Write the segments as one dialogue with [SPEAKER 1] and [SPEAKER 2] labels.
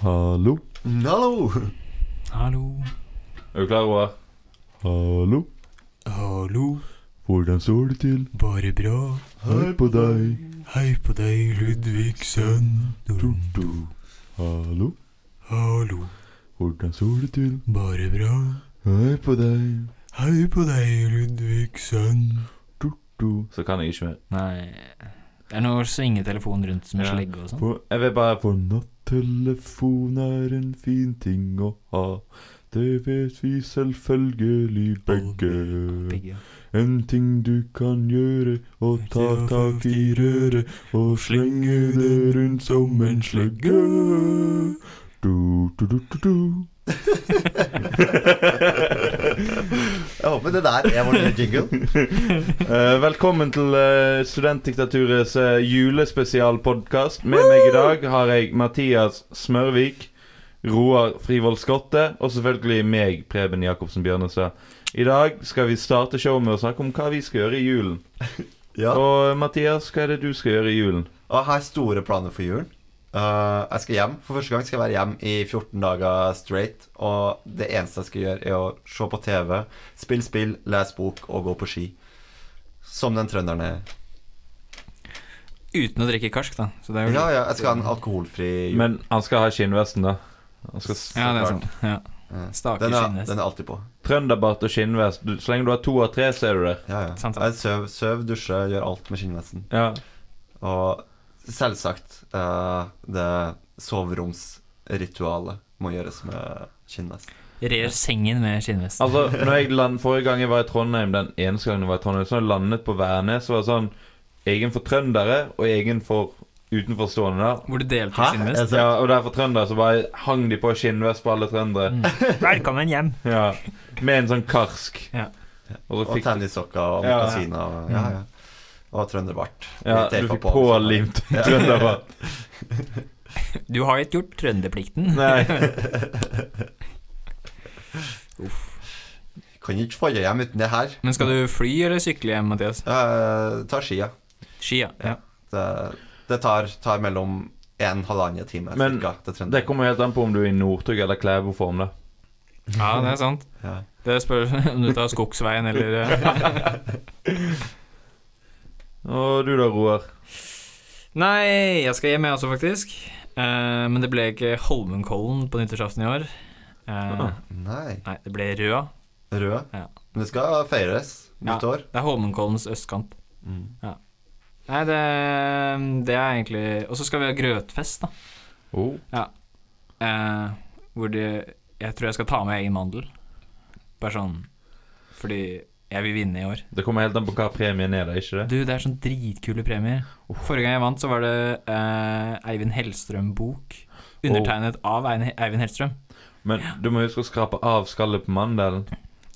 [SPEAKER 1] Hallo,
[SPEAKER 2] Hallo!
[SPEAKER 3] Hallo.
[SPEAKER 4] Er du klar, Roar?
[SPEAKER 1] hallo.
[SPEAKER 3] Hallo.
[SPEAKER 1] Hvordan står det til?
[SPEAKER 3] Bare bra.
[SPEAKER 1] Hei på deg.
[SPEAKER 3] Hei på deg, Ludvigsen.
[SPEAKER 1] Du, du. Hallo,
[SPEAKER 3] Hallo.
[SPEAKER 1] hvordan står det til?
[SPEAKER 3] Bare bra.
[SPEAKER 1] Hei på deg.
[SPEAKER 3] Hei på deg, Ludvigsen.
[SPEAKER 1] Du, du.
[SPEAKER 4] Så kan jeg ikke mer.
[SPEAKER 3] Nei Det er noe å svinge telefonen rundt som en
[SPEAKER 4] Ja.
[SPEAKER 3] slegge og sånn.
[SPEAKER 4] For- Jeg vil bare
[SPEAKER 1] For nattelefon er en fin ting å ha. Det vet vi selvfølgelig begge.
[SPEAKER 3] Begge.
[SPEAKER 1] En ting du kan gjøre, å ta tak i røret og slenge det rundt som en slegge. Du, du, du, du, du.
[SPEAKER 2] Jeg håper det der er vår lille jingle.
[SPEAKER 4] Eh, Velkommen til eh, Studentdiktaturets eh, julespesialpodkast. Med meg i dag har jeg Mathias Smørvik, Roar Frivold Skotte og selvfølgelig meg, Preben Jacobsen Bjørnestad. I dag skal vi starte showet med å snakke om hva vi skal gjøre i julen.
[SPEAKER 2] Ja.
[SPEAKER 4] Og eh, Mathias, hva er det du skal gjøre i julen?
[SPEAKER 2] Og har store planer for julen. Eh, jeg skal hjem. For første gang skal jeg være hjem i 14 dager straight. Og det eneste jeg skal gjøre, er å se på TV, spille spill, lese bok og gå på ski. Som den trønderen er.
[SPEAKER 3] Uten å drikke karsk, da. Så det er jo
[SPEAKER 2] Ja, ja, jeg skal ha en alkoholfri jul.
[SPEAKER 4] Men han skal ha skinnvesten, da. Han skal s-
[SPEAKER 3] Ja, det er sånn. Ja.
[SPEAKER 2] Ja.
[SPEAKER 3] Staker
[SPEAKER 2] Den er,
[SPEAKER 3] skinnes.
[SPEAKER 2] den er alltid på.
[SPEAKER 4] Trønderbart og skinnvest. Du, så lenge du har to av tre, så er du der.
[SPEAKER 2] Ja, ja.
[SPEAKER 3] Sant, sant.
[SPEAKER 2] Jeg søv, søv, dusjer, gjør alt med skinnvesten.
[SPEAKER 4] Ja.
[SPEAKER 2] Og selvsagt eh, det soveromsritualet må gjøres med skinnvest.
[SPEAKER 3] Rer sengen med skinnvest.
[SPEAKER 4] Altså, når jeg land, Forrige gang jeg var i Trondheim, den eneste gangen jeg var i Trondheim, så jeg landet på Værnes, så var det sånn Egen for trøndere og egen for utenforstående. der.
[SPEAKER 3] Hvor du delte
[SPEAKER 2] Hæ?
[SPEAKER 3] skinnvest.
[SPEAKER 2] sant?
[SPEAKER 4] Ja, og der for trøndere så bare hang de på skinnvest på alle
[SPEAKER 3] Mm.
[SPEAKER 4] trøndere.
[SPEAKER 3] Velkommen hjem.
[SPEAKER 4] Ja, Med en sånn karsk.
[SPEAKER 3] Ja.
[SPEAKER 4] Og så
[SPEAKER 2] Og
[SPEAKER 4] fikk,
[SPEAKER 2] tennissokker og
[SPEAKER 4] Ja, ja.
[SPEAKER 2] mokasiner. og- Ja, ja. Og trønderbart.
[SPEAKER 4] ja,
[SPEAKER 2] Vi
[SPEAKER 4] du
[SPEAKER 2] teipa
[SPEAKER 4] fikk
[SPEAKER 2] på alle sammen.
[SPEAKER 4] pålimt trønderbart.
[SPEAKER 3] Du har ikke gjort trønderplikten.
[SPEAKER 4] Nei.
[SPEAKER 2] Kan ikke få det hjem uten det her.
[SPEAKER 3] Men skal du fly eller sykle hjem, Mathias?
[SPEAKER 2] Eh, ta skia.
[SPEAKER 3] Ski, ja. ja.
[SPEAKER 2] Det, det tar, tar mellom en halvannen time
[SPEAKER 4] Men
[SPEAKER 2] cirka, til Trøndelag.
[SPEAKER 4] Det kommer helt an på om du er i Northug eller Klæboform, da.
[SPEAKER 3] Ja, det er sant.
[SPEAKER 2] Ja.
[SPEAKER 3] Det spørs om du tar skogsveien eller eh.
[SPEAKER 4] Og du da, Roar?
[SPEAKER 3] Nei, jeg skal hjem, jeg også, faktisk. Eh, men det ble ikke Holmenkollen på nyttårsaften i år. Eh,
[SPEAKER 4] Ah.
[SPEAKER 2] Nei.
[SPEAKER 3] nei, det ble Røa.
[SPEAKER 2] Rød.
[SPEAKER 3] Ja.
[SPEAKER 2] Men det skal feires nytt år.
[SPEAKER 3] Det er Holmenkollens østkant.
[SPEAKER 2] Mm.
[SPEAKER 3] Nei, det, det er egentlig Og så skal vi ha grøtfest, da.
[SPEAKER 4] Oh.
[SPEAKER 3] Eh, hvor det Jeg tror jeg skal ta med egen mandel. Bare sånn fordi jeg vil vinne i år.
[SPEAKER 4] Det kommer helt an på hva premien er, da, ikke det?
[SPEAKER 3] Du, det er sånn dritkule premier. Forrige gang jeg vant, så var det eh, Eivind Hellstrøm-bok. Undertegnet av Ein- Eivind Hellstrøm.
[SPEAKER 4] Men du må huske å skrape av skallet på mandelen.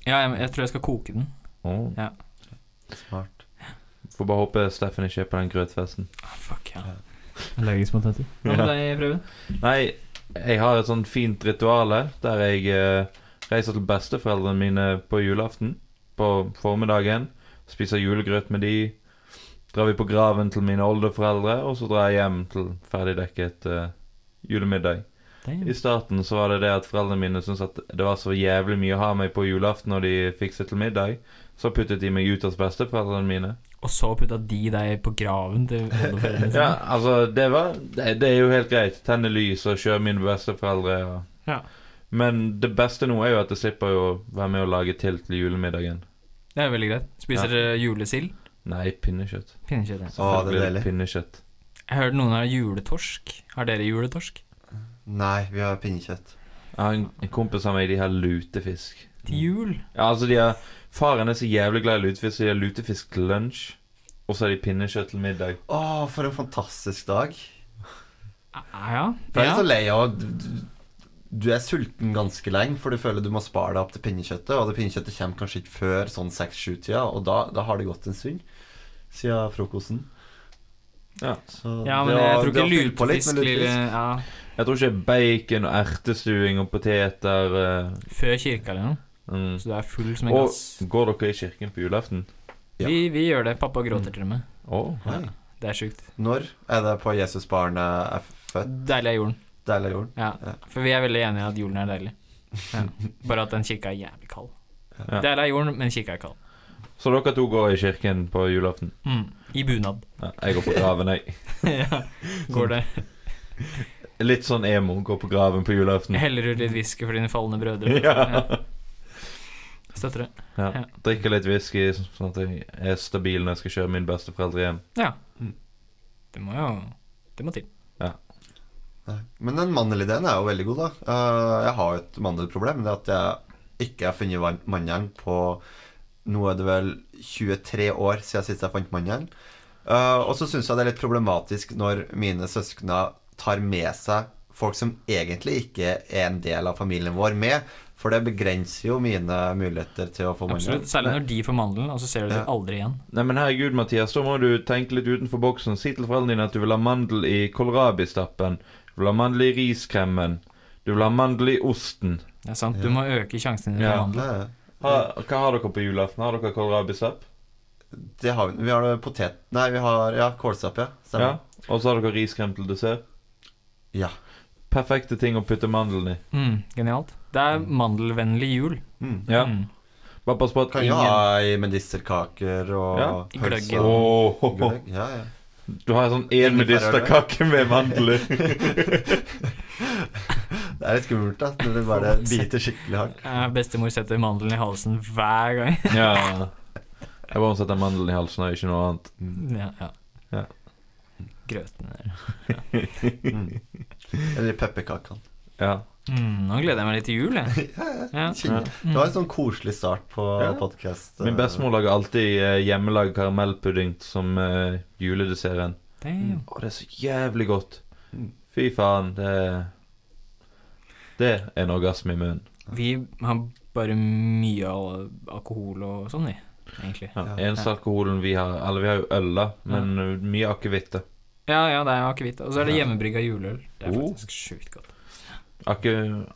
[SPEAKER 3] Ja, jeg, jeg tror jeg skal koke den.
[SPEAKER 4] Oh.
[SPEAKER 2] Smart.
[SPEAKER 4] Får bare håpe Steffen ikke er på den grøtfesten.
[SPEAKER 3] Ah, fuck, ja. Allergisk mot dette. Hva med
[SPEAKER 4] Ja.
[SPEAKER 3] deg, Preben?
[SPEAKER 4] Nei, jeg har et sånt fint rituale der jeg eh, reiser til besteforeldrene mine på julaften. På formiddagen. Spiser julegrøt med de. Drar vi på graven til mine oldeforeldre, og så drar jeg hjem til ferdigdekket eh, julemiddag. I starten så var det det at foreldrene mine syntes at det var så jævlig mye å ha meg på julaften når de fikset til middag. Så puttet de meg ut hos besteforeldrene mine.
[SPEAKER 3] Og så putta de deg på graven til oldeforeldrene
[SPEAKER 4] Ja,
[SPEAKER 3] sine.
[SPEAKER 4] altså, det var det, det er jo helt greit. Tenne lys og kjøre mine besteforeldre. Og...
[SPEAKER 3] Ja.
[SPEAKER 4] Men det beste nå er jo at jeg slipper jo å være med og lage til til julemiddagen.
[SPEAKER 3] Det er jo veldig greit. Spiser dere julesild?
[SPEAKER 4] Nei, pinnekjøtt.
[SPEAKER 3] Pinnekjøtt. ja.
[SPEAKER 2] Å, det er
[SPEAKER 4] Selvfølgelig
[SPEAKER 2] deilig.
[SPEAKER 4] Pinnekjøtt.
[SPEAKER 3] Jeg hørte noen har juletorsk. Har dere juletorsk?
[SPEAKER 2] Nei, vi har pinnekjøtt.
[SPEAKER 4] Jeg har en, en kompis av meg, de har lutefisk.
[SPEAKER 3] Til
[SPEAKER 2] Mm.
[SPEAKER 3] jul?
[SPEAKER 4] Ja, altså, de har Faren er så jævlig glad i lutefisk, så de har lutefisk til lunsj. Og så har de pinnekjøtt til middag.
[SPEAKER 2] Å, for en fantastisk dag.
[SPEAKER 3] Ah, ja.
[SPEAKER 2] For jeg er
[SPEAKER 3] ja.
[SPEAKER 2] så lei av at du, du- du er sulten ganske lenge, for du føler du må spare deg opp til pinnekjøttet. Og det pinnekjøttet kommer kanskje ikke før sånn seks-sju-tida, og da, da har det gått en stund siden frokosten.
[SPEAKER 4] Ja.
[SPEAKER 2] Så
[SPEAKER 3] ja,
[SPEAKER 2] sånn- det
[SPEAKER 3] men
[SPEAKER 2] å-
[SPEAKER 3] jeg tror
[SPEAKER 2] det
[SPEAKER 3] ikke
[SPEAKER 2] å fylle på litt
[SPEAKER 3] lutefisk
[SPEAKER 2] med
[SPEAKER 3] blir ja,
[SPEAKER 4] Jeg tror ikke bacon og ertestuing og poteter eh,
[SPEAKER 3] før kirka eller noe.
[SPEAKER 4] mm.
[SPEAKER 3] Så du er full som en
[SPEAKER 4] Og
[SPEAKER 3] gass.
[SPEAKER 4] går dere i kirken på julaften?
[SPEAKER 2] Ja. Mm.
[SPEAKER 3] Vi, vi gjør det. Pappa gråter til og med.
[SPEAKER 4] Å.
[SPEAKER 2] Nei.
[SPEAKER 3] Det er sjukt.
[SPEAKER 2] Når er det på Jesusbarnet er født?
[SPEAKER 3] Deilig er jorden.
[SPEAKER 2] Deilig av jorden.
[SPEAKER 3] Ja, for vi er veldig enige i at julen er deilig. Ja. Bare at den kirka er jævlig kald.
[SPEAKER 4] Ja.
[SPEAKER 3] Deilig er jorden, men kirka er kald.
[SPEAKER 4] Så dere to går i kirken på julaften?
[SPEAKER 3] Mm. I bunad.
[SPEAKER 4] Ja, jeg går på graven, jeg.
[SPEAKER 3] ja. Går det
[SPEAKER 4] Litt sånn emo, går på graven på
[SPEAKER 2] Mm.
[SPEAKER 4] julaften.
[SPEAKER 3] Heller ut litt whisky for dine falne brødre.
[SPEAKER 4] Ja.
[SPEAKER 3] Støtter det.
[SPEAKER 4] ja.
[SPEAKER 3] Ja.
[SPEAKER 4] Drikker litt whisky, sånn at jeg er stabil når jeg skal kjøre mine besteforeldre hjem.
[SPEAKER 3] Ja.
[SPEAKER 2] Mm.
[SPEAKER 3] Det må jo Det må til.
[SPEAKER 2] Nei. Men den mandelideen er jo veldig god, da. Eh, jeg har jo et mandelproblem. Det er at jeg ikke har funnet van- mandelen på Nå er det vel 23 år siden sist jeg fant mandelen. Eh, og så syns jeg det er litt problematisk når mine søskner tar med seg folk som egentlig ikke er en del av familien vår, med. For det begrenser jo mine muligheter til å få mandel.
[SPEAKER 3] Absolutt. Særlig når de får mandelen, og så ser du det
[SPEAKER 2] Ja.
[SPEAKER 3] aldri igjen.
[SPEAKER 4] Nei, men herregud, Mathias, da må du tenke litt utenfor boksen. Si til foreldrene dine at du vil ha mandel i kålrabistappen. Du vil ha mandel i riskremen. Du vil ha mandel i osten.
[SPEAKER 3] Det er sant. Du må øke sjansen din for
[SPEAKER 4] Ja.
[SPEAKER 3] mandel.
[SPEAKER 2] Nei,
[SPEAKER 4] Ha, hva har dere på julaften? Har dere kålrabistapp?
[SPEAKER 2] Det har vi, vi har det potet... Nei, vi har ja, kålsapp, ja.
[SPEAKER 4] Ja.
[SPEAKER 2] Stemmer.
[SPEAKER 4] Og så har dere riskrem til dessert?
[SPEAKER 2] Ja.
[SPEAKER 4] Perfekte ting å putte mandelen i.
[SPEAKER 3] Mm, genialt. Det er mandelvennlig jul.
[SPEAKER 2] Mm.
[SPEAKER 4] Ja.
[SPEAKER 3] Mm.
[SPEAKER 4] Bare pass på at
[SPEAKER 2] Kan jo
[SPEAKER 4] ingen
[SPEAKER 2] ha sånn i medisterkaker og
[SPEAKER 4] Ja.
[SPEAKER 2] hølse
[SPEAKER 3] Gløggen.
[SPEAKER 2] og-
[SPEAKER 4] Åh, ho, ho.
[SPEAKER 2] Gløgg, Ja, ja.
[SPEAKER 4] Du har sånn én medisterkake med mandel i.
[SPEAKER 2] Det er litt skummelt, da. Når det bare biter skikkelig hardt.
[SPEAKER 3] Eh, Bestemor setter mandelen i halsen hver gang.
[SPEAKER 4] Ja. Jeg bare setter mandelen i halsen og ikke noe annet.
[SPEAKER 3] ja, ja.
[SPEAKER 4] Ja.
[SPEAKER 3] Grøten der.
[SPEAKER 2] Eller i pepperkakene.
[SPEAKER 4] Mm. Ja.
[SPEAKER 3] Mm, nå gleder jeg meg litt til jul, jeg. Ja.
[SPEAKER 2] Kjenne- Det var en sånn koselig start på
[SPEAKER 4] Ja.
[SPEAKER 2] podcast
[SPEAKER 4] Min bestemor lager alltid eh, hjemmelagd karamellpudding som eh, juledesserten.
[SPEAKER 3] Damn.
[SPEAKER 4] Å, det er så jævlig godt.
[SPEAKER 2] Mm.
[SPEAKER 4] Fy faen, det Det er en orgasme i munnen.
[SPEAKER 3] Vi har bare mye al- alkohol og sånn, vi. Egentlig.
[SPEAKER 4] Ja.
[SPEAKER 2] Ja.
[SPEAKER 4] Eneste alkoholen vi har Eller vi har jo øl, da, men eh, mye akevitte.
[SPEAKER 3] Ja, ja, det er akevitt. Og så er det hjemmebrygga juleøl. Det er
[SPEAKER 4] Oh.
[SPEAKER 3] faktisk sjukt godt.
[SPEAKER 4] Ake,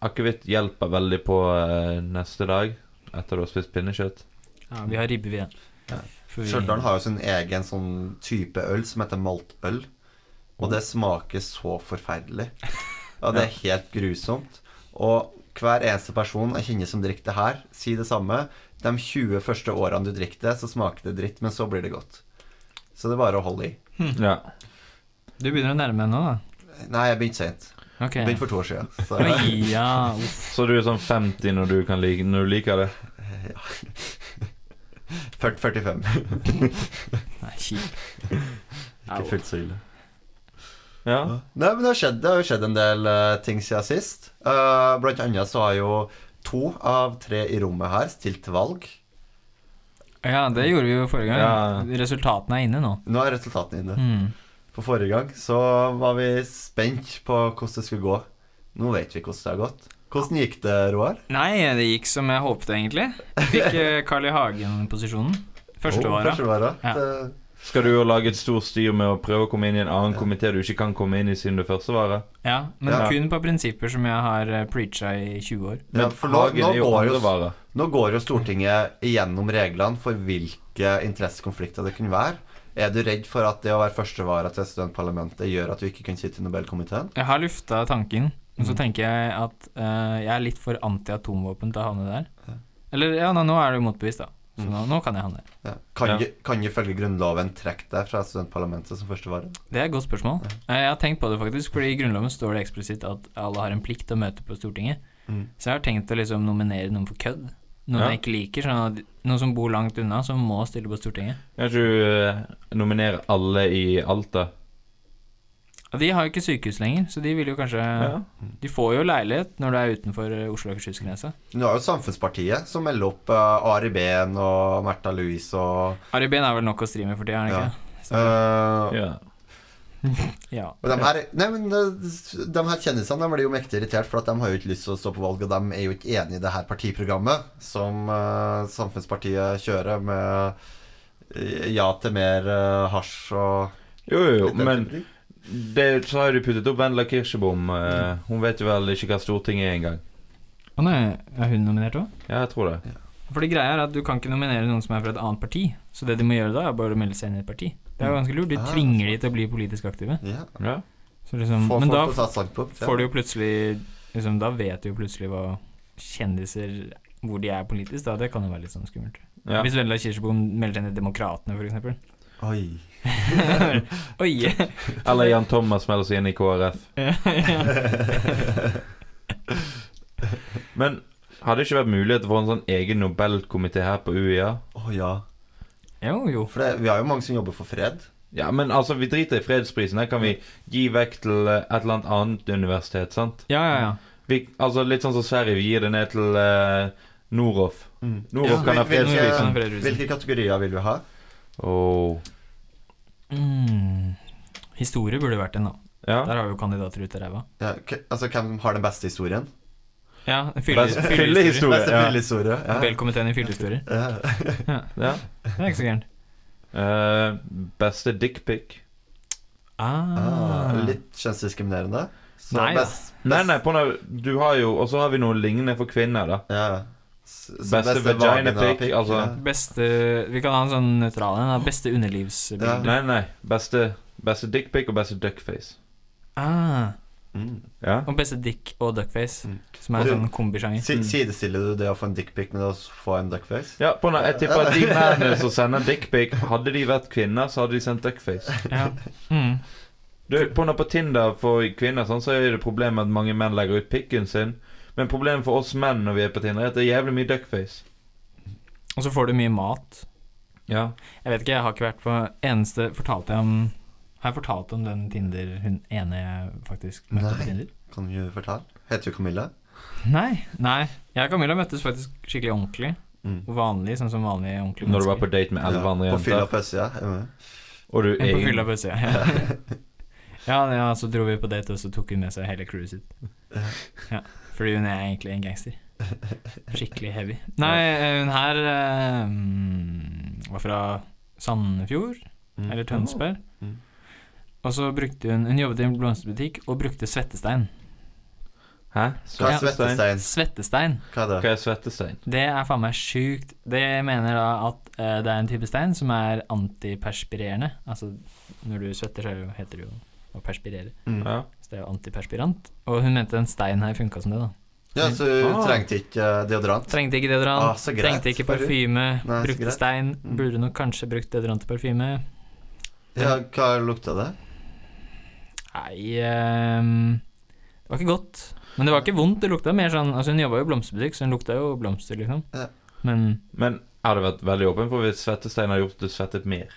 [SPEAKER 4] akevitt hjelper veldig på eh, neste dag, etter du har spist pinnekjøtt.
[SPEAKER 3] Ja, vi har ribbe, vi igjen.
[SPEAKER 2] Ja.
[SPEAKER 3] For vi-
[SPEAKER 2] Stjørdal har jo sin egen sånn type øl som heter maltøl. Og det smaker så forferdelig. Ja, det er helt grusomt. Og hver eneste person jeg kjenner som drikker det her, sier det samme. De 20 første årene du drikker det, så smaker det dritt, men så blir det godt. Så det er bare å holde i.
[SPEAKER 4] Ja.
[SPEAKER 3] Du begynner å nærme deg nå, da.
[SPEAKER 2] Nei, jeg begynte seint.
[SPEAKER 3] Ok.
[SPEAKER 2] Begynte for to år siden. Så
[SPEAKER 3] Oi, ja. uff.
[SPEAKER 4] Så du er sånn 50 når du, kan like, når du liker det.
[SPEAKER 2] 40, 45.
[SPEAKER 3] Nei, kjip. Au.
[SPEAKER 2] Ikke fullt så ille.
[SPEAKER 4] Ja.
[SPEAKER 2] Nei, men det har, skjedd, det har jo skjedd en del eh, ting siden sist. Eh, blant annet så har jo to av tre i rommet her stilt til valg.
[SPEAKER 3] Ja, det gjorde vi jo forrige gang.
[SPEAKER 4] Ja.
[SPEAKER 3] Resultatene er inne nå.
[SPEAKER 2] Nå er resultatene inne.
[SPEAKER 3] Mm.
[SPEAKER 2] På forrige gang så var vi spent på hvordan det skulle gå. Nå vet vi hvordan det har gått. Hvordan gikk det, Roar?
[SPEAKER 3] Nei, det gikk som jeg håpte, egentlig. Fikk eh, Carl I. Hagen-posisjonen. Førstevara.
[SPEAKER 2] Førstevara.
[SPEAKER 3] Ja.
[SPEAKER 2] Det-
[SPEAKER 4] Skal du jo lage et stort styr med å prøve å komme inn i en annen komité du ikke kan komme inn i siden du første var her?
[SPEAKER 3] Ja, men
[SPEAKER 2] Ja.
[SPEAKER 3] kun på prinsipper som jeg har eh, preacha i 20 år.
[SPEAKER 2] Ja,
[SPEAKER 4] Men
[SPEAKER 2] for nå,
[SPEAKER 4] Hagen
[SPEAKER 2] nå,
[SPEAKER 4] er jo
[SPEAKER 2] går
[SPEAKER 4] andre
[SPEAKER 2] jo,
[SPEAKER 4] vare.
[SPEAKER 2] nå går jo Stortinget igjennom reglene for hvilke interessekonflikter det kunne være. Er du redd for at det å være førstevara til studentparlamentet gjør at du ikke kan sitte i Nobelkomiteen?
[SPEAKER 3] Jeg har lufta tanken, men så tenker jeg at eh, jeg er litt for anti-atomvåpen til å havne der. Eller ja, nå, nå er det jo motbevist, da. Så nå, nå kan jeg havne der.
[SPEAKER 2] Ja. Kan,
[SPEAKER 4] Ja.
[SPEAKER 2] Ikke, kan ifølge Grunnloven trekke deg fra studentparlamentet som førstevare?
[SPEAKER 3] Det er et godt spørsmål. Eh, Jeg har tenkt på det faktisk, fordi i Grunnloven står det eksplisitt at alle har en plikt til å møte på Stortinget.
[SPEAKER 2] Mm.
[SPEAKER 3] Så jeg har tenkt å liksom nominere noen for kødd. Noen
[SPEAKER 4] Ja.
[SPEAKER 3] jeg ikke liker, sånn at noen som bor langt unna, som må stille på Stortinget.
[SPEAKER 4] Kan ikke du eh, nominere alle i Alta?
[SPEAKER 3] Og de har jo ikke sykehus lenger, så de vil jo kanskje
[SPEAKER 4] Ja.
[SPEAKER 3] De får jo leilighet når du er utenfor eh, Oslo og Akershus-grensa.
[SPEAKER 2] Men Du har jo Samfunnspartiet, som melder opp eh, Ari Behn og Märtha Louise og
[SPEAKER 3] Ari Behn er vel nok å stri med for tida, er han ikke? Så,
[SPEAKER 2] eh,
[SPEAKER 4] Ja.
[SPEAKER 3] ja.
[SPEAKER 2] og de her, nei, men, eh, de her kjendisene de blir jo mektig irritert, for at de har jo ikke lyst til å stå på valg, og de er jo ikke enig i det her partiprogrammet som eh, Samfunnspartiet kjører med eh, ja til mer eh, hasj og
[SPEAKER 4] Jo, jo, jo,
[SPEAKER 2] Litt
[SPEAKER 4] men
[SPEAKER 2] den type ting.
[SPEAKER 4] det, så har de puttet opp Vendela Kirsebom. eh, hun vet jo vel ikke hva Stortinget er engang.
[SPEAKER 3] Og nå er hun nominert òg?
[SPEAKER 4] Ja, jeg tror det.
[SPEAKER 3] For det greia er at du kan ikke nominere noen som er fra et annet parti. Så det de må gjøre da, er bare å melde seg inn i et parti. Det er jo ganske lurt. De
[SPEAKER 2] Mm. Ah.
[SPEAKER 3] tvinger de til å bli politisk aktive.
[SPEAKER 2] Ja.
[SPEAKER 4] Ja.
[SPEAKER 3] Så liksom,
[SPEAKER 2] Få
[SPEAKER 3] men
[SPEAKER 2] folk
[SPEAKER 3] da
[SPEAKER 2] til å ta et standpunkt.
[SPEAKER 3] får du jo plutselig liksom, Da vet du jo plutselig hva kjendiser Hvor de er politisk, da. Det kan jo være litt sånn skummelt.
[SPEAKER 4] Ja.
[SPEAKER 3] Hvis Vendela Kirsebom melder seg inn i Demokratene, f.eks.
[SPEAKER 2] Oi.
[SPEAKER 3] Oi!
[SPEAKER 4] Eller Jan Thomas melder seg inn i KrF. Men hadde det ikke vært mulighet for en sånn egen Nobelkomité her på UiA?
[SPEAKER 2] Å ja.
[SPEAKER 3] jo, jo.
[SPEAKER 2] For det, vi har jo mange som jobber for fred.
[SPEAKER 4] Ja, men altså, vi driter i fredsprisen. Den kan vi gi vekk til eh, et eller annet annet universitet, sant?
[SPEAKER 3] Ja, ja, ja.
[SPEAKER 4] Vi, altså, litt sånn som Sverige. Vi gir det ned til eh, Noroff. Noroff
[SPEAKER 2] Ja,
[SPEAKER 4] kan ha
[SPEAKER 2] men- men-
[SPEAKER 4] fredsprisen.
[SPEAKER 3] Kan ha fredsprisen.
[SPEAKER 2] Hvilke kategorier vil vi ha?
[SPEAKER 4] Åh.
[SPEAKER 3] Mm. Historie burde vært en, da.
[SPEAKER 4] Ja.
[SPEAKER 3] Der har vi jo kandidater ut av ræva.
[SPEAKER 2] Ja, k altså, hvem har den beste historien?
[SPEAKER 3] Ja,
[SPEAKER 4] Best-
[SPEAKER 3] fyllehistorie.
[SPEAKER 4] Historie,
[SPEAKER 2] beste
[SPEAKER 4] ja.
[SPEAKER 2] fyllehistorie. Ja.
[SPEAKER 3] Nobelkomiteen i fyllehistorier.
[SPEAKER 2] Ja.
[SPEAKER 4] ja.
[SPEAKER 3] Det er ikke så gærent.
[SPEAKER 4] Eh, beste dickpic?
[SPEAKER 3] Ah.
[SPEAKER 2] Ah, litt kjønnsdiskriminerende. Så
[SPEAKER 3] Nei, da.
[SPEAKER 2] best, best,
[SPEAKER 4] Nei, nei, på noe, du har jo Og så har vi noe lignende for kvinner, da.
[SPEAKER 2] Ja. S- så
[SPEAKER 4] Beste vagina pic, altså.
[SPEAKER 3] Beste Vi kan ha en sånn nøytral en. da. Beste underlivsbilde.
[SPEAKER 4] Nei, nei. Beste, beste dickpic og beste duckface.
[SPEAKER 3] Ah.
[SPEAKER 2] Mm.
[SPEAKER 4] Ja.
[SPEAKER 3] Og beste dick og duckface,
[SPEAKER 2] Mm.
[SPEAKER 3] som er
[SPEAKER 2] Og
[SPEAKER 3] en
[SPEAKER 2] du-
[SPEAKER 3] sånn kombisjanger.
[SPEAKER 2] Si- Sidestiller du det å få en dickpic med det å s- få en duckface?
[SPEAKER 4] Ja, på noe, Jeg tipper at de mennene som sender dickpic, hadde de vært kvinner, så hadde de sendt duckface.
[SPEAKER 3] Ja. Mm.
[SPEAKER 4] Du, på, noe på Tinder for kvinner sånn, så er det problemet at mange menn legger ut pikken sin. Men problemet for oss menn når vi er på Tinder, er at det er jævlig mye duckface.
[SPEAKER 3] Og så får du mye mat.
[SPEAKER 4] Ja.
[SPEAKER 3] Jeg vet ikke, jeg har ikke vært på Eneste fortalte jeg om Har jeg fortalt om den Tinder Hun ene jeg faktisk møtte
[SPEAKER 2] Nei.
[SPEAKER 3] på Tinder?
[SPEAKER 2] Kan du fortelle? Heter du Camilla?
[SPEAKER 3] Nei. Nei. Jeg og Camilla møttes faktisk skikkelig ordentlig.
[SPEAKER 2] Mm.
[SPEAKER 3] Vanlig, sånn som vanlige ordentlige
[SPEAKER 4] Når du var på date med elleve andre
[SPEAKER 2] ja, på fylla
[SPEAKER 4] jenter,
[SPEAKER 2] på østsida? er du med?
[SPEAKER 4] og du
[SPEAKER 3] På fylla
[SPEAKER 4] er
[SPEAKER 3] på utsida. Ja. ja, ja, så dro vi på date, og så tok hun med seg hele crewet sitt. Ja, fordi hun er egentlig en gangster. Skikkelig heavy. Nei, hun her eh, mm, var fra Sandefjord,
[SPEAKER 2] Mm.
[SPEAKER 3] eller Tønsberg.
[SPEAKER 2] Mm.
[SPEAKER 3] Og så brukte hun Hun jobbet i en blomsterbutikk og brukte svettestein.
[SPEAKER 4] Hæ?
[SPEAKER 2] Hva er
[SPEAKER 4] Svettestein?
[SPEAKER 2] svettestein?
[SPEAKER 3] Svettestein,
[SPEAKER 2] Hva er det?
[SPEAKER 4] Hva er svettestein?
[SPEAKER 3] det er faen meg sjukt. Det mener da at eh, det er en type stein som er antiperspirerende. Altså, når du svetter, så er det jo- heter det jo å perspirere.
[SPEAKER 2] Mm.
[SPEAKER 4] Ja.
[SPEAKER 3] Så det er jo antiperspirant. Og hun mente den steinen her funka som det, da.
[SPEAKER 2] Ja, så hun
[SPEAKER 4] Ah.
[SPEAKER 2] trengte ikke eh, deodorant?
[SPEAKER 3] Trengte ikke deodorant,
[SPEAKER 2] Ah, så greit.
[SPEAKER 3] trengte ikke parfyme,
[SPEAKER 2] Nei, så
[SPEAKER 3] brukte
[SPEAKER 2] greit.
[SPEAKER 3] stein.
[SPEAKER 2] Mm.
[SPEAKER 3] Burde nok kanskje brukt deodorant og parfyme.
[SPEAKER 2] Ja, hva lukta det?
[SPEAKER 3] Nei ehm, Det var ikke godt. Men det var ikke vondt. Det lukta mer sånn Altså, hun jobba jo i blomsterbutikk, så hun lukta jo blomster, liksom.
[SPEAKER 2] Ja.
[SPEAKER 3] Men
[SPEAKER 4] Men jeg hadde vært veldig åpen for hvis svettestein hadde gjort at du svettet mer.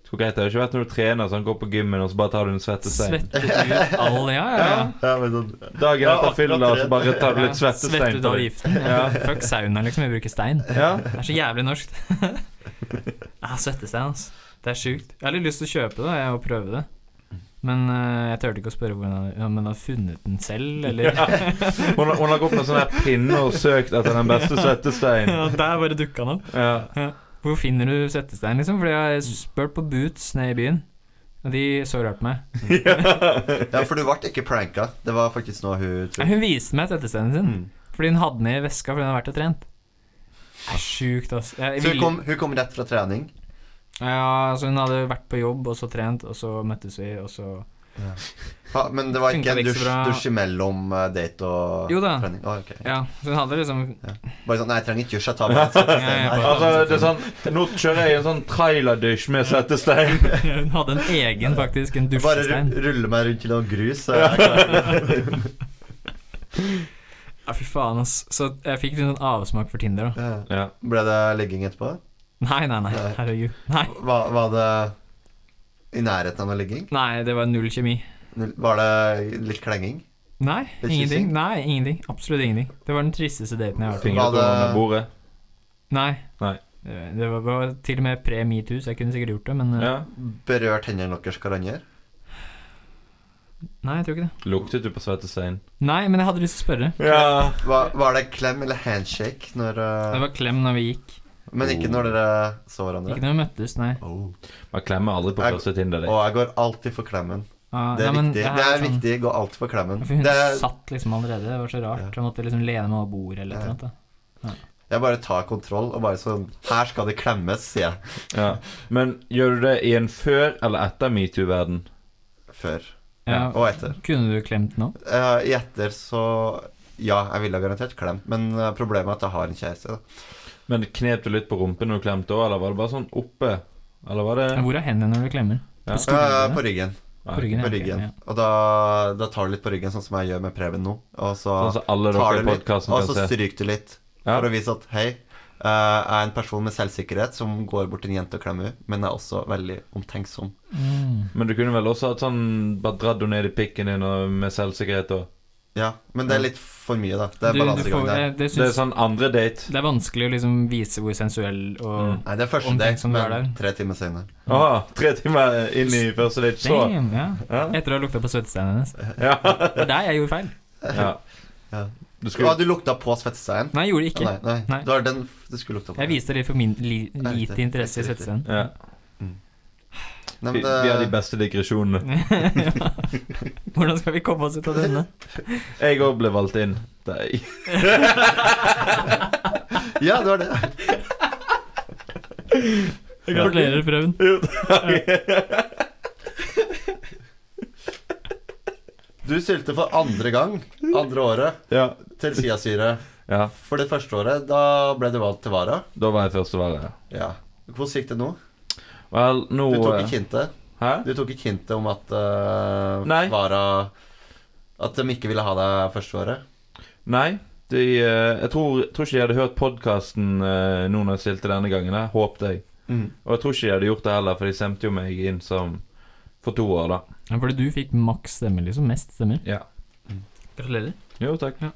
[SPEAKER 4] Det skulle greit, det hadde ikke vært når du trener, sånn går på gymmen og så bare tar du en svettestein.
[SPEAKER 3] svettet ut all Ja, ja, ja.
[SPEAKER 2] Ja, men sånn
[SPEAKER 4] Dagen
[SPEAKER 2] Ja,
[SPEAKER 4] etter fylla så bare tar du
[SPEAKER 3] Ja,
[SPEAKER 4] litt svettestein
[SPEAKER 3] Svettet
[SPEAKER 4] på
[SPEAKER 3] av
[SPEAKER 4] deg.
[SPEAKER 3] giften. Ja. Fuck sauna, liksom. Vi bruker stein.
[SPEAKER 4] Ja.
[SPEAKER 3] Det er så jævlig norskt. ja, svettestein, ass. Det er sjukt. Jeg har litt lyst til å kjøpe det jeg, og prøve det. Men øh, jeg turte ikke å spørre hvordan han- om han har funnet den selv, eller
[SPEAKER 4] Hun, har- hun har gått med sånn her pinne og søkt etter den beste svettesteinen.
[SPEAKER 3] Ja, Der bare dukka han opp.
[SPEAKER 4] Ja.
[SPEAKER 3] Hvor finner du svettestein, liksom? Fordi jeg har spurt på Boots nede i byen, og de så rart på meg.
[SPEAKER 2] Ja, for du ble ikke pranka. Det var faktisk noe hun
[SPEAKER 3] Nei,
[SPEAKER 2] trodde.
[SPEAKER 3] Hun viste meg svettesteinen
[SPEAKER 2] Mm.
[SPEAKER 3] sin, fordi hun hadde den i veska fordi hun har vært og trent. Det er sjukt, ass. Jeg,
[SPEAKER 2] Så hun
[SPEAKER 3] ville-
[SPEAKER 2] kom, hun kom rett fra trening.
[SPEAKER 3] Ja, altså, hun hadde vært på jobb, og så trent, og så møttes vi, og så
[SPEAKER 2] Ha, men det var ikke
[SPEAKER 3] Funka
[SPEAKER 2] en
[SPEAKER 3] det ikke så
[SPEAKER 2] dusj,
[SPEAKER 3] bra?
[SPEAKER 2] dusj imellom eh, date og
[SPEAKER 3] Jo da.
[SPEAKER 2] trening? Å, ok.
[SPEAKER 3] Ja, så hun hadde liksom
[SPEAKER 2] Bare sånn Nei, jeg trenger ikke dusj, jeg tar meg en
[SPEAKER 3] Ja, ja,
[SPEAKER 4] Altså, det er sånn Nå kjører jeg en sånn trailerdusj med svettestein.
[SPEAKER 3] Hun hadde en egen, faktisk. En
[SPEAKER 2] Bare
[SPEAKER 3] dusjestein.
[SPEAKER 2] ru- rulle meg rundt i noe grus. så er jeg klar.
[SPEAKER 3] Ja, fy faen, ass. Så jeg fikk en sånn avsmak for Tinder, da.
[SPEAKER 2] Ja.
[SPEAKER 4] Ja.
[SPEAKER 2] Ble det ligging etterpå?
[SPEAKER 3] Nei, nei, nei. Herregud. Nei.
[SPEAKER 2] Var, var det i nærheten av noe ligging?
[SPEAKER 3] Nei, det var null kjemi.
[SPEAKER 2] Var det litt klenging?
[SPEAKER 3] Nei,
[SPEAKER 2] Litt
[SPEAKER 3] ingenting.
[SPEAKER 2] kyssing?
[SPEAKER 3] Nei, ingenting. Absolutt ingenting. Det var den tristeste daten jeg har vært på.
[SPEAKER 2] Fing-
[SPEAKER 4] Fingre på under bordet.
[SPEAKER 3] Nei.
[SPEAKER 4] Nei.
[SPEAKER 3] Det det var, var til og med pre metoo, så jeg kunne sikkert gjort det, men eh,
[SPEAKER 4] Ja.
[SPEAKER 2] Berørt hendene deres hverandre?
[SPEAKER 3] Nei, jeg tror ikke det.
[SPEAKER 4] Luktet du på svettestein?
[SPEAKER 3] Nei, men jeg hadde lyst til å spørre.
[SPEAKER 4] Ja.
[SPEAKER 2] Var, var det klem eller handshake når eh,
[SPEAKER 3] Det var klem når vi gikk.
[SPEAKER 2] Men ikke når dere så hverandre?
[SPEAKER 3] Ikke når vi møttes, nei.
[SPEAKER 2] Oh.
[SPEAKER 4] Man klemmer aldri på
[SPEAKER 2] Jeg-
[SPEAKER 4] første Tinder.
[SPEAKER 2] Og jeg går alltid for klemmen.
[SPEAKER 3] Ah,
[SPEAKER 2] Det er
[SPEAKER 3] nei, men
[SPEAKER 2] viktig.
[SPEAKER 3] her
[SPEAKER 2] Det er
[SPEAKER 3] sånn-
[SPEAKER 2] viktig. Gå alltid for klemmen.
[SPEAKER 3] For hun
[SPEAKER 2] Det er,
[SPEAKER 3] satt liksom allerede, det var så rart. Hun måtte liksom lene meg over bordet eller noe sånt. da.
[SPEAKER 2] jeg bare tar kontroll og bare sånn Her skal det klemmes, sier jeg.
[SPEAKER 4] Ja. Men gjør du det i en før- eller etter metoo-verden?
[SPEAKER 2] Før.
[SPEAKER 3] Ja.
[SPEAKER 2] Og etter.
[SPEAKER 3] Kunne du klemt nå?
[SPEAKER 2] Eh, I etter så Ja, jeg ville ha garantert klemt, men eh, problemet er at jeg har en kjæreste. da.
[SPEAKER 4] Men knep du litt på rumpen når du klemte òg, eller var det bare sånn oppe? Eller var det
[SPEAKER 3] Hvor er hendene når du klemmer?
[SPEAKER 4] Ja.
[SPEAKER 3] På skuldrene?
[SPEAKER 2] Eh, på ryggen.
[SPEAKER 3] På ryggen, ja,
[SPEAKER 2] På
[SPEAKER 3] ok,
[SPEAKER 2] ryggen.
[SPEAKER 3] ja.
[SPEAKER 2] Og da, da tar du litt på ryggen, sånn som jeg gjør med Preben nå. Og så
[SPEAKER 4] Sånn som alle
[SPEAKER 2] tar
[SPEAKER 4] dere i
[SPEAKER 2] du litt,
[SPEAKER 4] podcasten
[SPEAKER 2] og
[SPEAKER 4] kan
[SPEAKER 2] så
[SPEAKER 4] se.
[SPEAKER 2] stryker du litt.
[SPEAKER 4] Ja.
[SPEAKER 2] For å vise at hei, eh, jeg er en person med selvsikkerhet som går bort til en jente og klemmer henne, men er også veldig omtenksom.
[SPEAKER 3] Mm.
[SPEAKER 4] Men du kunne vel også hatt sånn Bare dratt henne ned i pikken din og med selvsikkerhet og
[SPEAKER 2] Ja, men det er litt for mye, da. Det
[SPEAKER 3] Du-
[SPEAKER 2] er
[SPEAKER 3] du
[SPEAKER 2] balansegang
[SPEAKER 3] får-
[SPEAKER 2] der.
[SPEAKER 3] jeg- Det,
[SPEAKER 4] Det er
[SPEAKER 3] syns-
[SPEAKER 4] sånn andre date.
[SPEAKER 3] det er vanskelig å liksom vise hvor sensuell og
[SPEAKER 2] Nei, det er første date,
[SPEAKER 3] Omtenksom du er
[SPEAKER 2] men
[SPEAKER 3] der.
[SPEAKER 2] tre timer senere.
[SPEAKER 4] Åh, tre timer inn i første date, så
[SPEAKER 3] Damn, ja.
[SPEAKER 4] Ja.
[SPEAKER 3] Etter å ha lukta på svettesteinen hennes. Det
[SPEAKER 4] Ja.
[SPEAKER 3] var der jeg gjorde feil.
[SPEAKER 4] ja.
[SPEAKER 2] Ja.
[SPEAKER 4] Du
[SPEAKER 2] Skulle...
[SPEAKER 4] skulle
[SPEAKER 2] du lukta på svettesteinen?
[SPEAKER 3] Nei, jeg gjorde det ikke.
[SPEAKER 2] Nei, nei.
[SPEAKER 3] Nei.
[SPEAKER 2] Du har den du skulle lukta på.
[SPEAKER 3] Jeg viste litt for min li,
[SPEAKER 2] Nei, det-
[SPEAKER 3] lite interesse i
[SPEAKER 2] det er ikke
[SPEAKER 3] svettesteinen.
[SPEAKER 4] ja.
[SPEAKER 2] Nei,
[SPEAKER 4] Vi,
[SPEAKER 2] men det...
[SPEAKER 4] vi har de beste digresjonene.
[SPEAKER 3] Ja. Hvordan skal vi komme oss ut av denne?
[SPEAKER 4] Jeg òg ble valgt inn. Nei.
[SPEAKER 2] Ja, det var det.
[SPEAKER 3] Gratulerer, Prøven.
[SPEAKER 2] Du sylte for andre gang, andre året,
[SPEAKER 4] Ja.
[SPEAKER 2] til Siasyret.
[SPEAKER 4] ja.
[SPEAKER 2] For det første året, da ble du valgt til Vara.
[SPEAKER 4] Da var jeg førstevalget.
[SPEAKER 2] Ja. Hvordan gikk det nå?
[SPEAKER 4] Vel, nå
[SPEAKER 2] Du tok
[SPEAKER 4] eh,
[SPEAKER 2] ikke hintet.
[SPEAKER 4] Hæ?
[SPEAKER 2] Du tok ikke hintet om at eh,
[SPEAKER 4] Nei.
[SPEAKER 2] Vara At de ikke ville ha deg første året.
[SPEAKER 4] Nei. De, eh, jeg tror, tror ikke de hadde hørt podkasten nå når jeg stilte denne gangen. Jeg håpte jeg. Og jeg tror ikke de hadde gjort det heller, for de stemte jo meg inn som for to år, da.
[SPEAKER 3] Ja, fordi du fikk maks stemmer, liksom. Mest stemmer.
[SPEAKER 4] Ja.
[SPEAKER 3] Gratulerer.
[SPEAKER 4] Jo, takk.
[SPEAKER 3] Ja.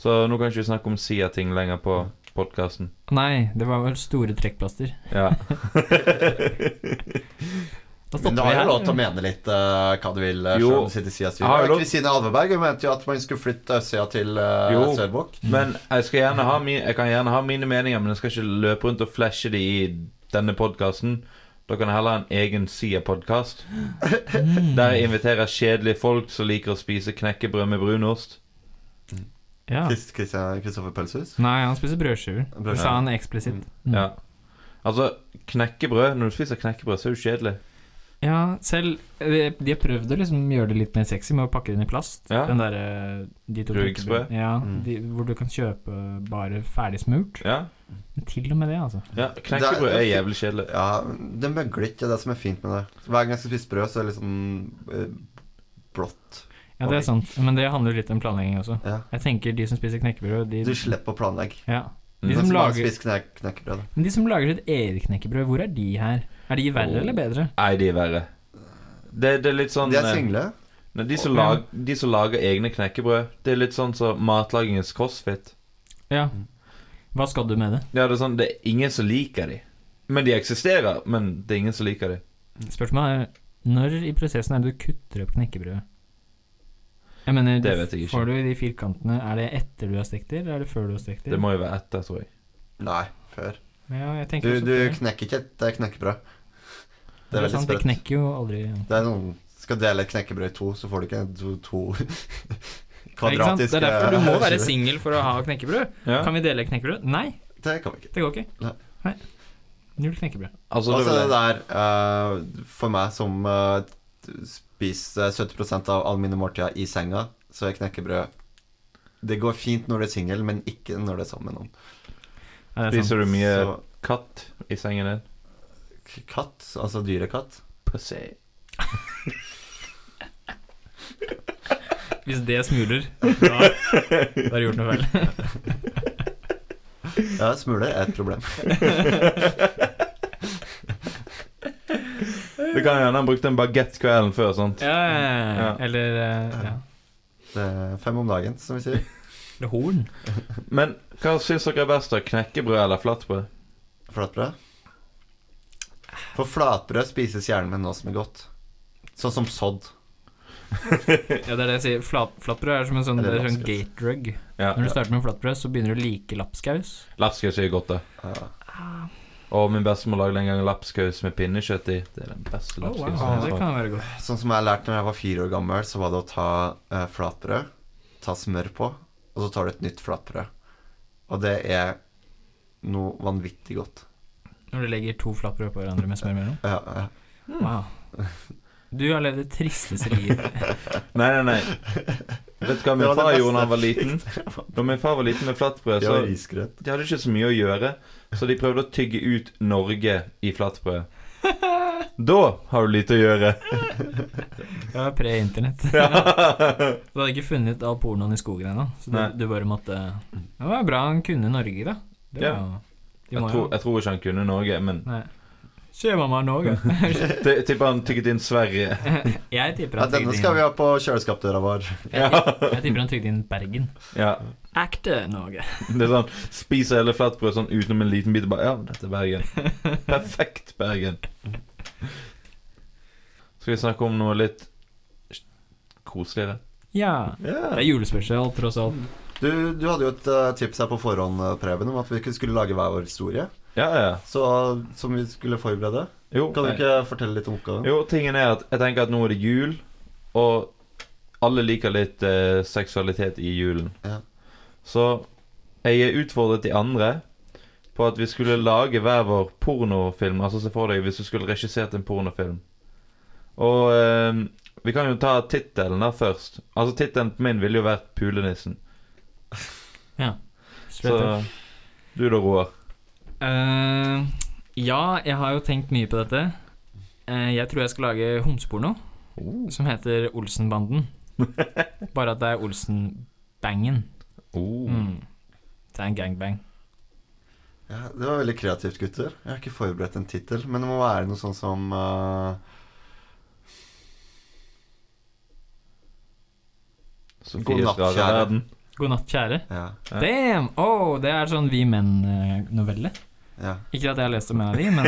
[SPEAKER 4] Så nå kan ikke vi snakke om Sia-ting lenger på podkasten.
[SPEAKER 3] Nei, det var vel store trekkplaster.
[SPEAKER 4] Ja.
[SPEAKER 3] Da
[SPEAKER 2] Men
[SPEAKER 3] stopper
[SPEAKER 2] du har
[SPEAKER 3] vi
[SPEAKER 2] jo
[SPEAKER 3] her.
[SPEAKER 2] lov til å mene litt eh, hva du vil. eh,
[SPEAKER 4] Jo.
[SPEAKER 2] selv om du sitter i siden av
[SPEAKER 4] Jeg har jo
[SPEAKER 2] styret.
[SPEAKER 4] lov-
[SPEAKER 2] Kristine Alveberg hun mente jo at man skulle flytte Øsøya til uh,
[SPEAKER 4] Jo.
[SPEAKER 2] Sørbukk.
[SPEAKER 4] Men jeg, skal gjerne ha mi, jeg kan gjerne ha mine meninger, men jeg skal ikke løpe rundt og flashe de i denne podkasten. Da kan jeg heller ha en egen Sia-podkast.
[SPEAKER 3] Mm.
[SPEAKER 4] Der jeg inviterer kjedelige folk som liker å spise knekkebrød med brunost.
[SPEAKER 3] Ja.
[SPEAKER 2] Krist- Kristian- Kristoffer Pølshus.
[SPEAKER 3] Nei, han spiser brødskiver. Det
[SPEAKER 2] Brødskiver.
[SPEAKER 3] sa han eksplisitt. Mm.
[SPEAKER 4] Ja. Altså, knekkebrød Når du spiser knekkebrød, så er det jo kjedelig.
[SPEAKER 3] Ja, selv De de har prøvd å liksom gjøre det litt mer sexy med å pakke det inn i plast.
[SPEAKER 4] Ja.
[SPEAKER 3] Den derre de to
[SPEAKER 4] Rugsprø.
[SPEAKER 3] Ja,
[SPEAKER 2] Mm.
[SPEAKER 3] de, hvor du kan kjøpe bare ferdig smurt.
[SPEAKER 4] Ja,
[SPEAKER 3] Men til og med det, altså.
[SPEAKER 4] ja Knekkebrød er jævlig kjedelig.
[SPEAKER 2] Ja, det møgler ikke, det er det som er fint med det. Hver gang jeg skal spise brød, så er det litt sånn eh, blått.
[SPEAKER 3] Ja, det er sant. Men det handler jo litt om planlegging også.
[SPEAKER 2] Ja.
[SPEAKER 3] Jeg tenker de som spiser knekkebrød, de
[SPEAKER 2] Du slipper å planlegge.
[SPEAKER 3] Ja.
[SPEAKER 4] Mm.
[SPEAKER 3] De som, lager,
[SPEAKER 2] spiser knek knekkebrød. da.
[SPEAKER 3] men de som lager sitt eget knekkebrød, hvor er de her? Er de verre
[SPEAKER 4] Åh.
[SPEAKER 3] eller bedre?
[SPEAKER 4] Nei, de er verre. Det, det er litt sånn
[SPEAKER 2] De er
[SPEAKER 4] eh,
[SPEAKER 2] single.
[SPEAKER 4] nei, de, som lag, de som lager egne knekkebrød, det er litt sånn som matlagingens crossfit.
[SPEAKER 3] Ja. Hva skal du med det?
[SPEAKER 4] Ja, det er sånn, det er ingen som liker de Men de eksisterer, men det er ingen som liker de
[SPEAKER 3] Spørsmålet er når i prosessen er det du kutter opp knekkebrødet? Jeg mener,
[SPEAKER 4] Det vet jeg ikke.
[SPEAKER 3] får du de firkantene Er det etter du har stekt det, eller er det før du har stekt det?
[SPEAKER 4] Det må jo være etter, tror jeg
[SPEAKER 2] Nei, før.
[SPEAKER 3] ja, jeg
[SPEAKER 2] Du,
[SPEAKER 3] tenker også
[SPEAKER 2] du
[SPEAKER 3] før.
[SPEAKER 2] knekker ikke et eh, knekkebrød. Det
[SPEAKER 3] Det er
[SPEAKER 2] er veldig
[SPEAKER 3] sant, det
[SPEAKER 2] sprøtt.
[SPEAKER 3] knekker jo aldri ja.
[SPEAKER 2] Det er noen Skal dele et knekkebrød i to, så får du ikke to, to
[SPEAKER 3] Ikke sant?
[SPEAKER 2] kvadratiske
[SPEAKER 3] Det er derfor du må være singel for å ha knekkebrød.
[SPEAKER 4] ja.
[SPEAKER 3] Kan vi dele knekkebrød? Nei,
[SPEAKER 2] Det kan vi ikke.
[SPEAKER 3] det går ikke.
[SPEAKER 2] Nei.
[SPEAKER 3] Nei. Null knekkebrød.
[SPEAKER 4] Altså, det
[SPEAKER 2] Altså
[SPEAKER 4] vil
[SPEAKER 2] det
[SPEAKER 4] jeg-
[SPEAKER 2] der, eh, for meg som eh, spiser 70 av alle mine måltider i senga, så er knekkebrød Det går fint når du er singel, men ikke når du er sammen med noen.
[SPEAKER 3] Ja, det er sant.
[SPEAKER 4] Spiser du mye
[SPEAKER 2] Så
[SPEAKER 4] katt i sengen din?
[SPEAKER 2] k- katt, altså dyrekatt
[SPEAKER 4] Pussy
[SPEAKER 3] Hvis det smuler, da, da har du gjort noe feil.
[SPEAKER 2] Ja, smuler er et problem.
[SPEAKER 4] Det kan jo hende han brukte en baguette kvelden før, sant?
[SPEAKER 3] Ja, ja, ja.
[SPEAKER 4] Ja.
[SPEAKER 3] Eller eh, ja.
[SPEAKER 2] Det er fem om dagen, som vi sier.
[SPEAKER 3] Eller horn.
[SPEAKER 4] Men hva synes dere er best da? Knekkebrød eller flatbrød?
[SPEAKER 2] Flatbrød. For flatbrød spises gjerne med noe som er godt. Sånn som sodd.
[SPEAKER 3] Ja, det er det jeg sier. Flat, flatbrød er som en sånn, det
[SPEAKER 2] Eller
[SPEAKER 3] er sånn
[SPEAKER 2] lapskaus.
[SPEAKER 3] gate drug.
[SPEAKER 4] Ja,
[SPEAKER 3] Når du starter med flatbrød, så begynner du å like lapskaus.
[SPEAKER 4] lapskaus er jo godt da
[SPEAKER 2] Ja.
[SPEAKER 4] Og min bestemor lagde en gang lapskaus med pinnekjøtt i Det er den beste lapskausen jeg
[SPEAKER 2] wow.
[SPEAKER 3] Oh, Det
[SPEAKER 4] har smakt.
[SPEAKER 3] kan være godt.
[SPEAKER 2] Sånn som jeg lærte når jeg var fire år gammel, så var det å ta eh, flatbrød, ta smør på, og så tar du et nytt flatbrød. Og det er noe vanvittig godt.
[SPEAKER 3] Når du legger to flatbrød på hverandre med smør mellom.
[SPEAKER 2] Ja, ja.
[SPEAKER 3] Wow. Du har levd det tristeste livet.
[SPEAKER 4] Nei, nei, nei. Vet du hva
[SPEAKER 2] Det
[SPEAKER 4] min
[SPEAKER 2] var det
[SPEAKER 4] far
[SPEAKER 2] beste.
[SPEAKER 4] gjorde da han var liten? Da min far var liten med flatbrød,
[SPEAKER 2] Det
[SPEAKER 4] så
[SPEAKER 2] var risgrøt.
[SPEAKER 4] de hadde ikke så mye å gjøre, så de prøvde å tygge ut Norge i flatbrød. Da har du lite å gjøre.
[SPEAKER 3] Det var pre-internett.
[SPEAKER 4] Ja.
[SPEAKER 3] Du hadde ikke funnet all pornoen i skogen ennå, så du,
[SPEAKER 4] Nei.
[SPEAKER 3] du bare måtte Det var bra han kunne Norge, da. Det var,
[SPEAKER 4] Ja.
[SPEAKER 3] jo- de
[SPEAKER 4] Jeg,
[SPEAKER 3] må
[SPEAKER 4] tror,
[SPEAKER 3] jo
[SPEAKER 4] jeg tror ikke han kunne Norge, men
[SPEAKER 3] Nei. Se mamma Norge.
[SPEAKER 4] t- tipper han tygget inn Sverige.
[SPEAKER 3] Jeg tipper
[SPEAKER 2] Ja,
[SPEAKER 3] han
[SPEAKER 2] denne
[SPEAKER 3] tygde
[SPEAKER 2] skal vi
[SPEAKER 3] inn
[SPEAKER 2] ha på kjøleskapdøra vår.
[SPEAKER 3] Jeg tipper- jeg tipper han tygde inn Bergen.
[SPEAKER 4] Ja,
[SPEAKER 3] Ekte Norge.
[SPEAKER 4] det er sånn, Spiser hele flatbrød sånn utenom en liten bit og bare Ja, dette er Bergen. Perfekt Bergen. Skal vi snakke om noe litt koseligere?
[SPEAKER 3] Ja. Det
[SPEAKER 2] Ja.
[SPEAKER 3] er julespesial, tross alt.
[SPEAKER 2] Du, du hadde jo et eh, tips her på forhånd, eh, Preben, om at vi ikke skulle lage hver vår historie.
[SPEAKER 4] Ja, ja.
[SPEAKER 2] Så, som vi skulle forberede.
[SPEAKER 4] Jo,
[SPEAKER 2] Kan du
[SPEAKER 4] nei.
[SPEAKER 2] ikke fortelle litt om oppgaven?
[SPEAKER 4] jo, tingen er at jeg tenker at nå er det jul, og alle liker litt eh, seksualitet i julen.
[SPEAKER 2] Ja.
[SPEAKER 4] Så jeg er utfordret de andre på at vi skulle lage hver vår pornofilm. Altså se for deg hvis du skulle regissert en pornofilm. Og eh, vi kan jo ta tittelen da først. Altså tittelen på min ville jo vært 'Pulenissen'. Så
[SPEAKER 3] Straight up.
[SPEAKER 4] du da, Roar.
[SPEAKER 3] Eh, ja, jeg har jo tenkt mye på dette. Eh, jeg tror jeg skal lage homseporno
[SPEAKER 4] Oh.
[SPEAKER 3] som heter Olsenbanden. Bare at det er Olsenbangen.
[SPEAKER 4] Oh.
[SPEAKER 3] Mm. Det er en gangbang.
[SPEAKER 2] Ja, det var veldig kreativt, gutter. Jeg har ikke forberedt en tittel, men det må være noe sånn som eh, God
[SPEAKER 4] Sofies
[SPEAKER 2] natt,
[SPEAKER 4] rare
[SPEAKER 2] kjære.
[SPEAKER 4] verden.
[SPEAKER 3] God natt, kjære.
[SPEAKER 2] ja,
[SPEAKER 4] Ja.
[SPEAKER 3] Damn! Oh, det er sånn Vi Menn-novelle.
[SPEAKER 2] ja.
[SPEAKER 3] Ikke at jeg har lest om en av de, men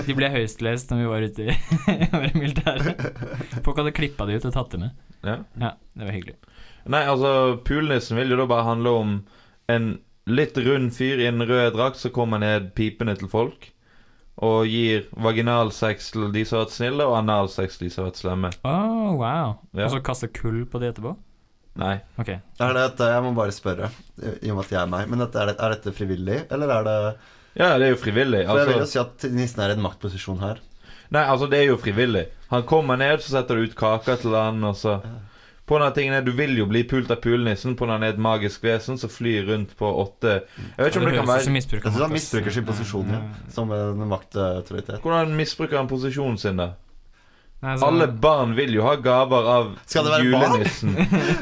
[SPEAKER 3] de ble høystlest når vi var ute i var i militæret. Folk hadde klippa de ut og tatt det med.
[SPEAKER 4] Ja.
[SPEAKER 3] Ja, det var hyggelig.
[SPEAKER 4] Nei, altså, Pulenissen vil jo da bare handle om en litt rund fyr i en rød drakt som kommer ned pipene til folk. Og gir vaginalsex til de som har vært snille, og analsex til de som har vært slemme.
[SPEAKER 3] Oh, wow.
[SPEAKER 4] Ja.
[SPEAKER 3] Og så kaste kull på de etterpå?
[SPEAKER 4] Nei.
[SPEAKER 3] Ok.
[SPEAKER 2] Er dette, jeg må bare spørre, i og med at jeg er meg, men dette, er, det, er dette frivillig, eller er det
[SPEAKER 4] Ja, det er jo frivillig.
[SPEAKER 2] For jeg vil jo
[SPEAKER 4] Altså,
[SPEAKER 2] si at nissen er i en maktposisjon her.
[SPEAKER 4] nei, altså, det er jo frivillig. Han kommer ned, så setter du ut kaker til han, og så På den tingen er, Du vil jo bli pult av pulenissen på når han er et magisk vesen som flyr rundt på åtte Jeg vet ikke om det
[SPEAKER 3] høres
[SPEAKER 4] kan
[SPEAKER 3] ut
[SPEAKER 4] være
[SPEAKER 3] som misbruk.
[SPEAKER 2] Jeg synes han misbruker sin posisjon ja, som en maktautoritet.
[SPEAKER 4] Hvordan misbruker han posisjonen sin, da?
[SPEAKER 3] Nei, altså,
[SPEAKER 4] Alle barn vil jo ha gaver av
[SPEAKER 2] Skal det være
[SPEAKER 4] julenissen.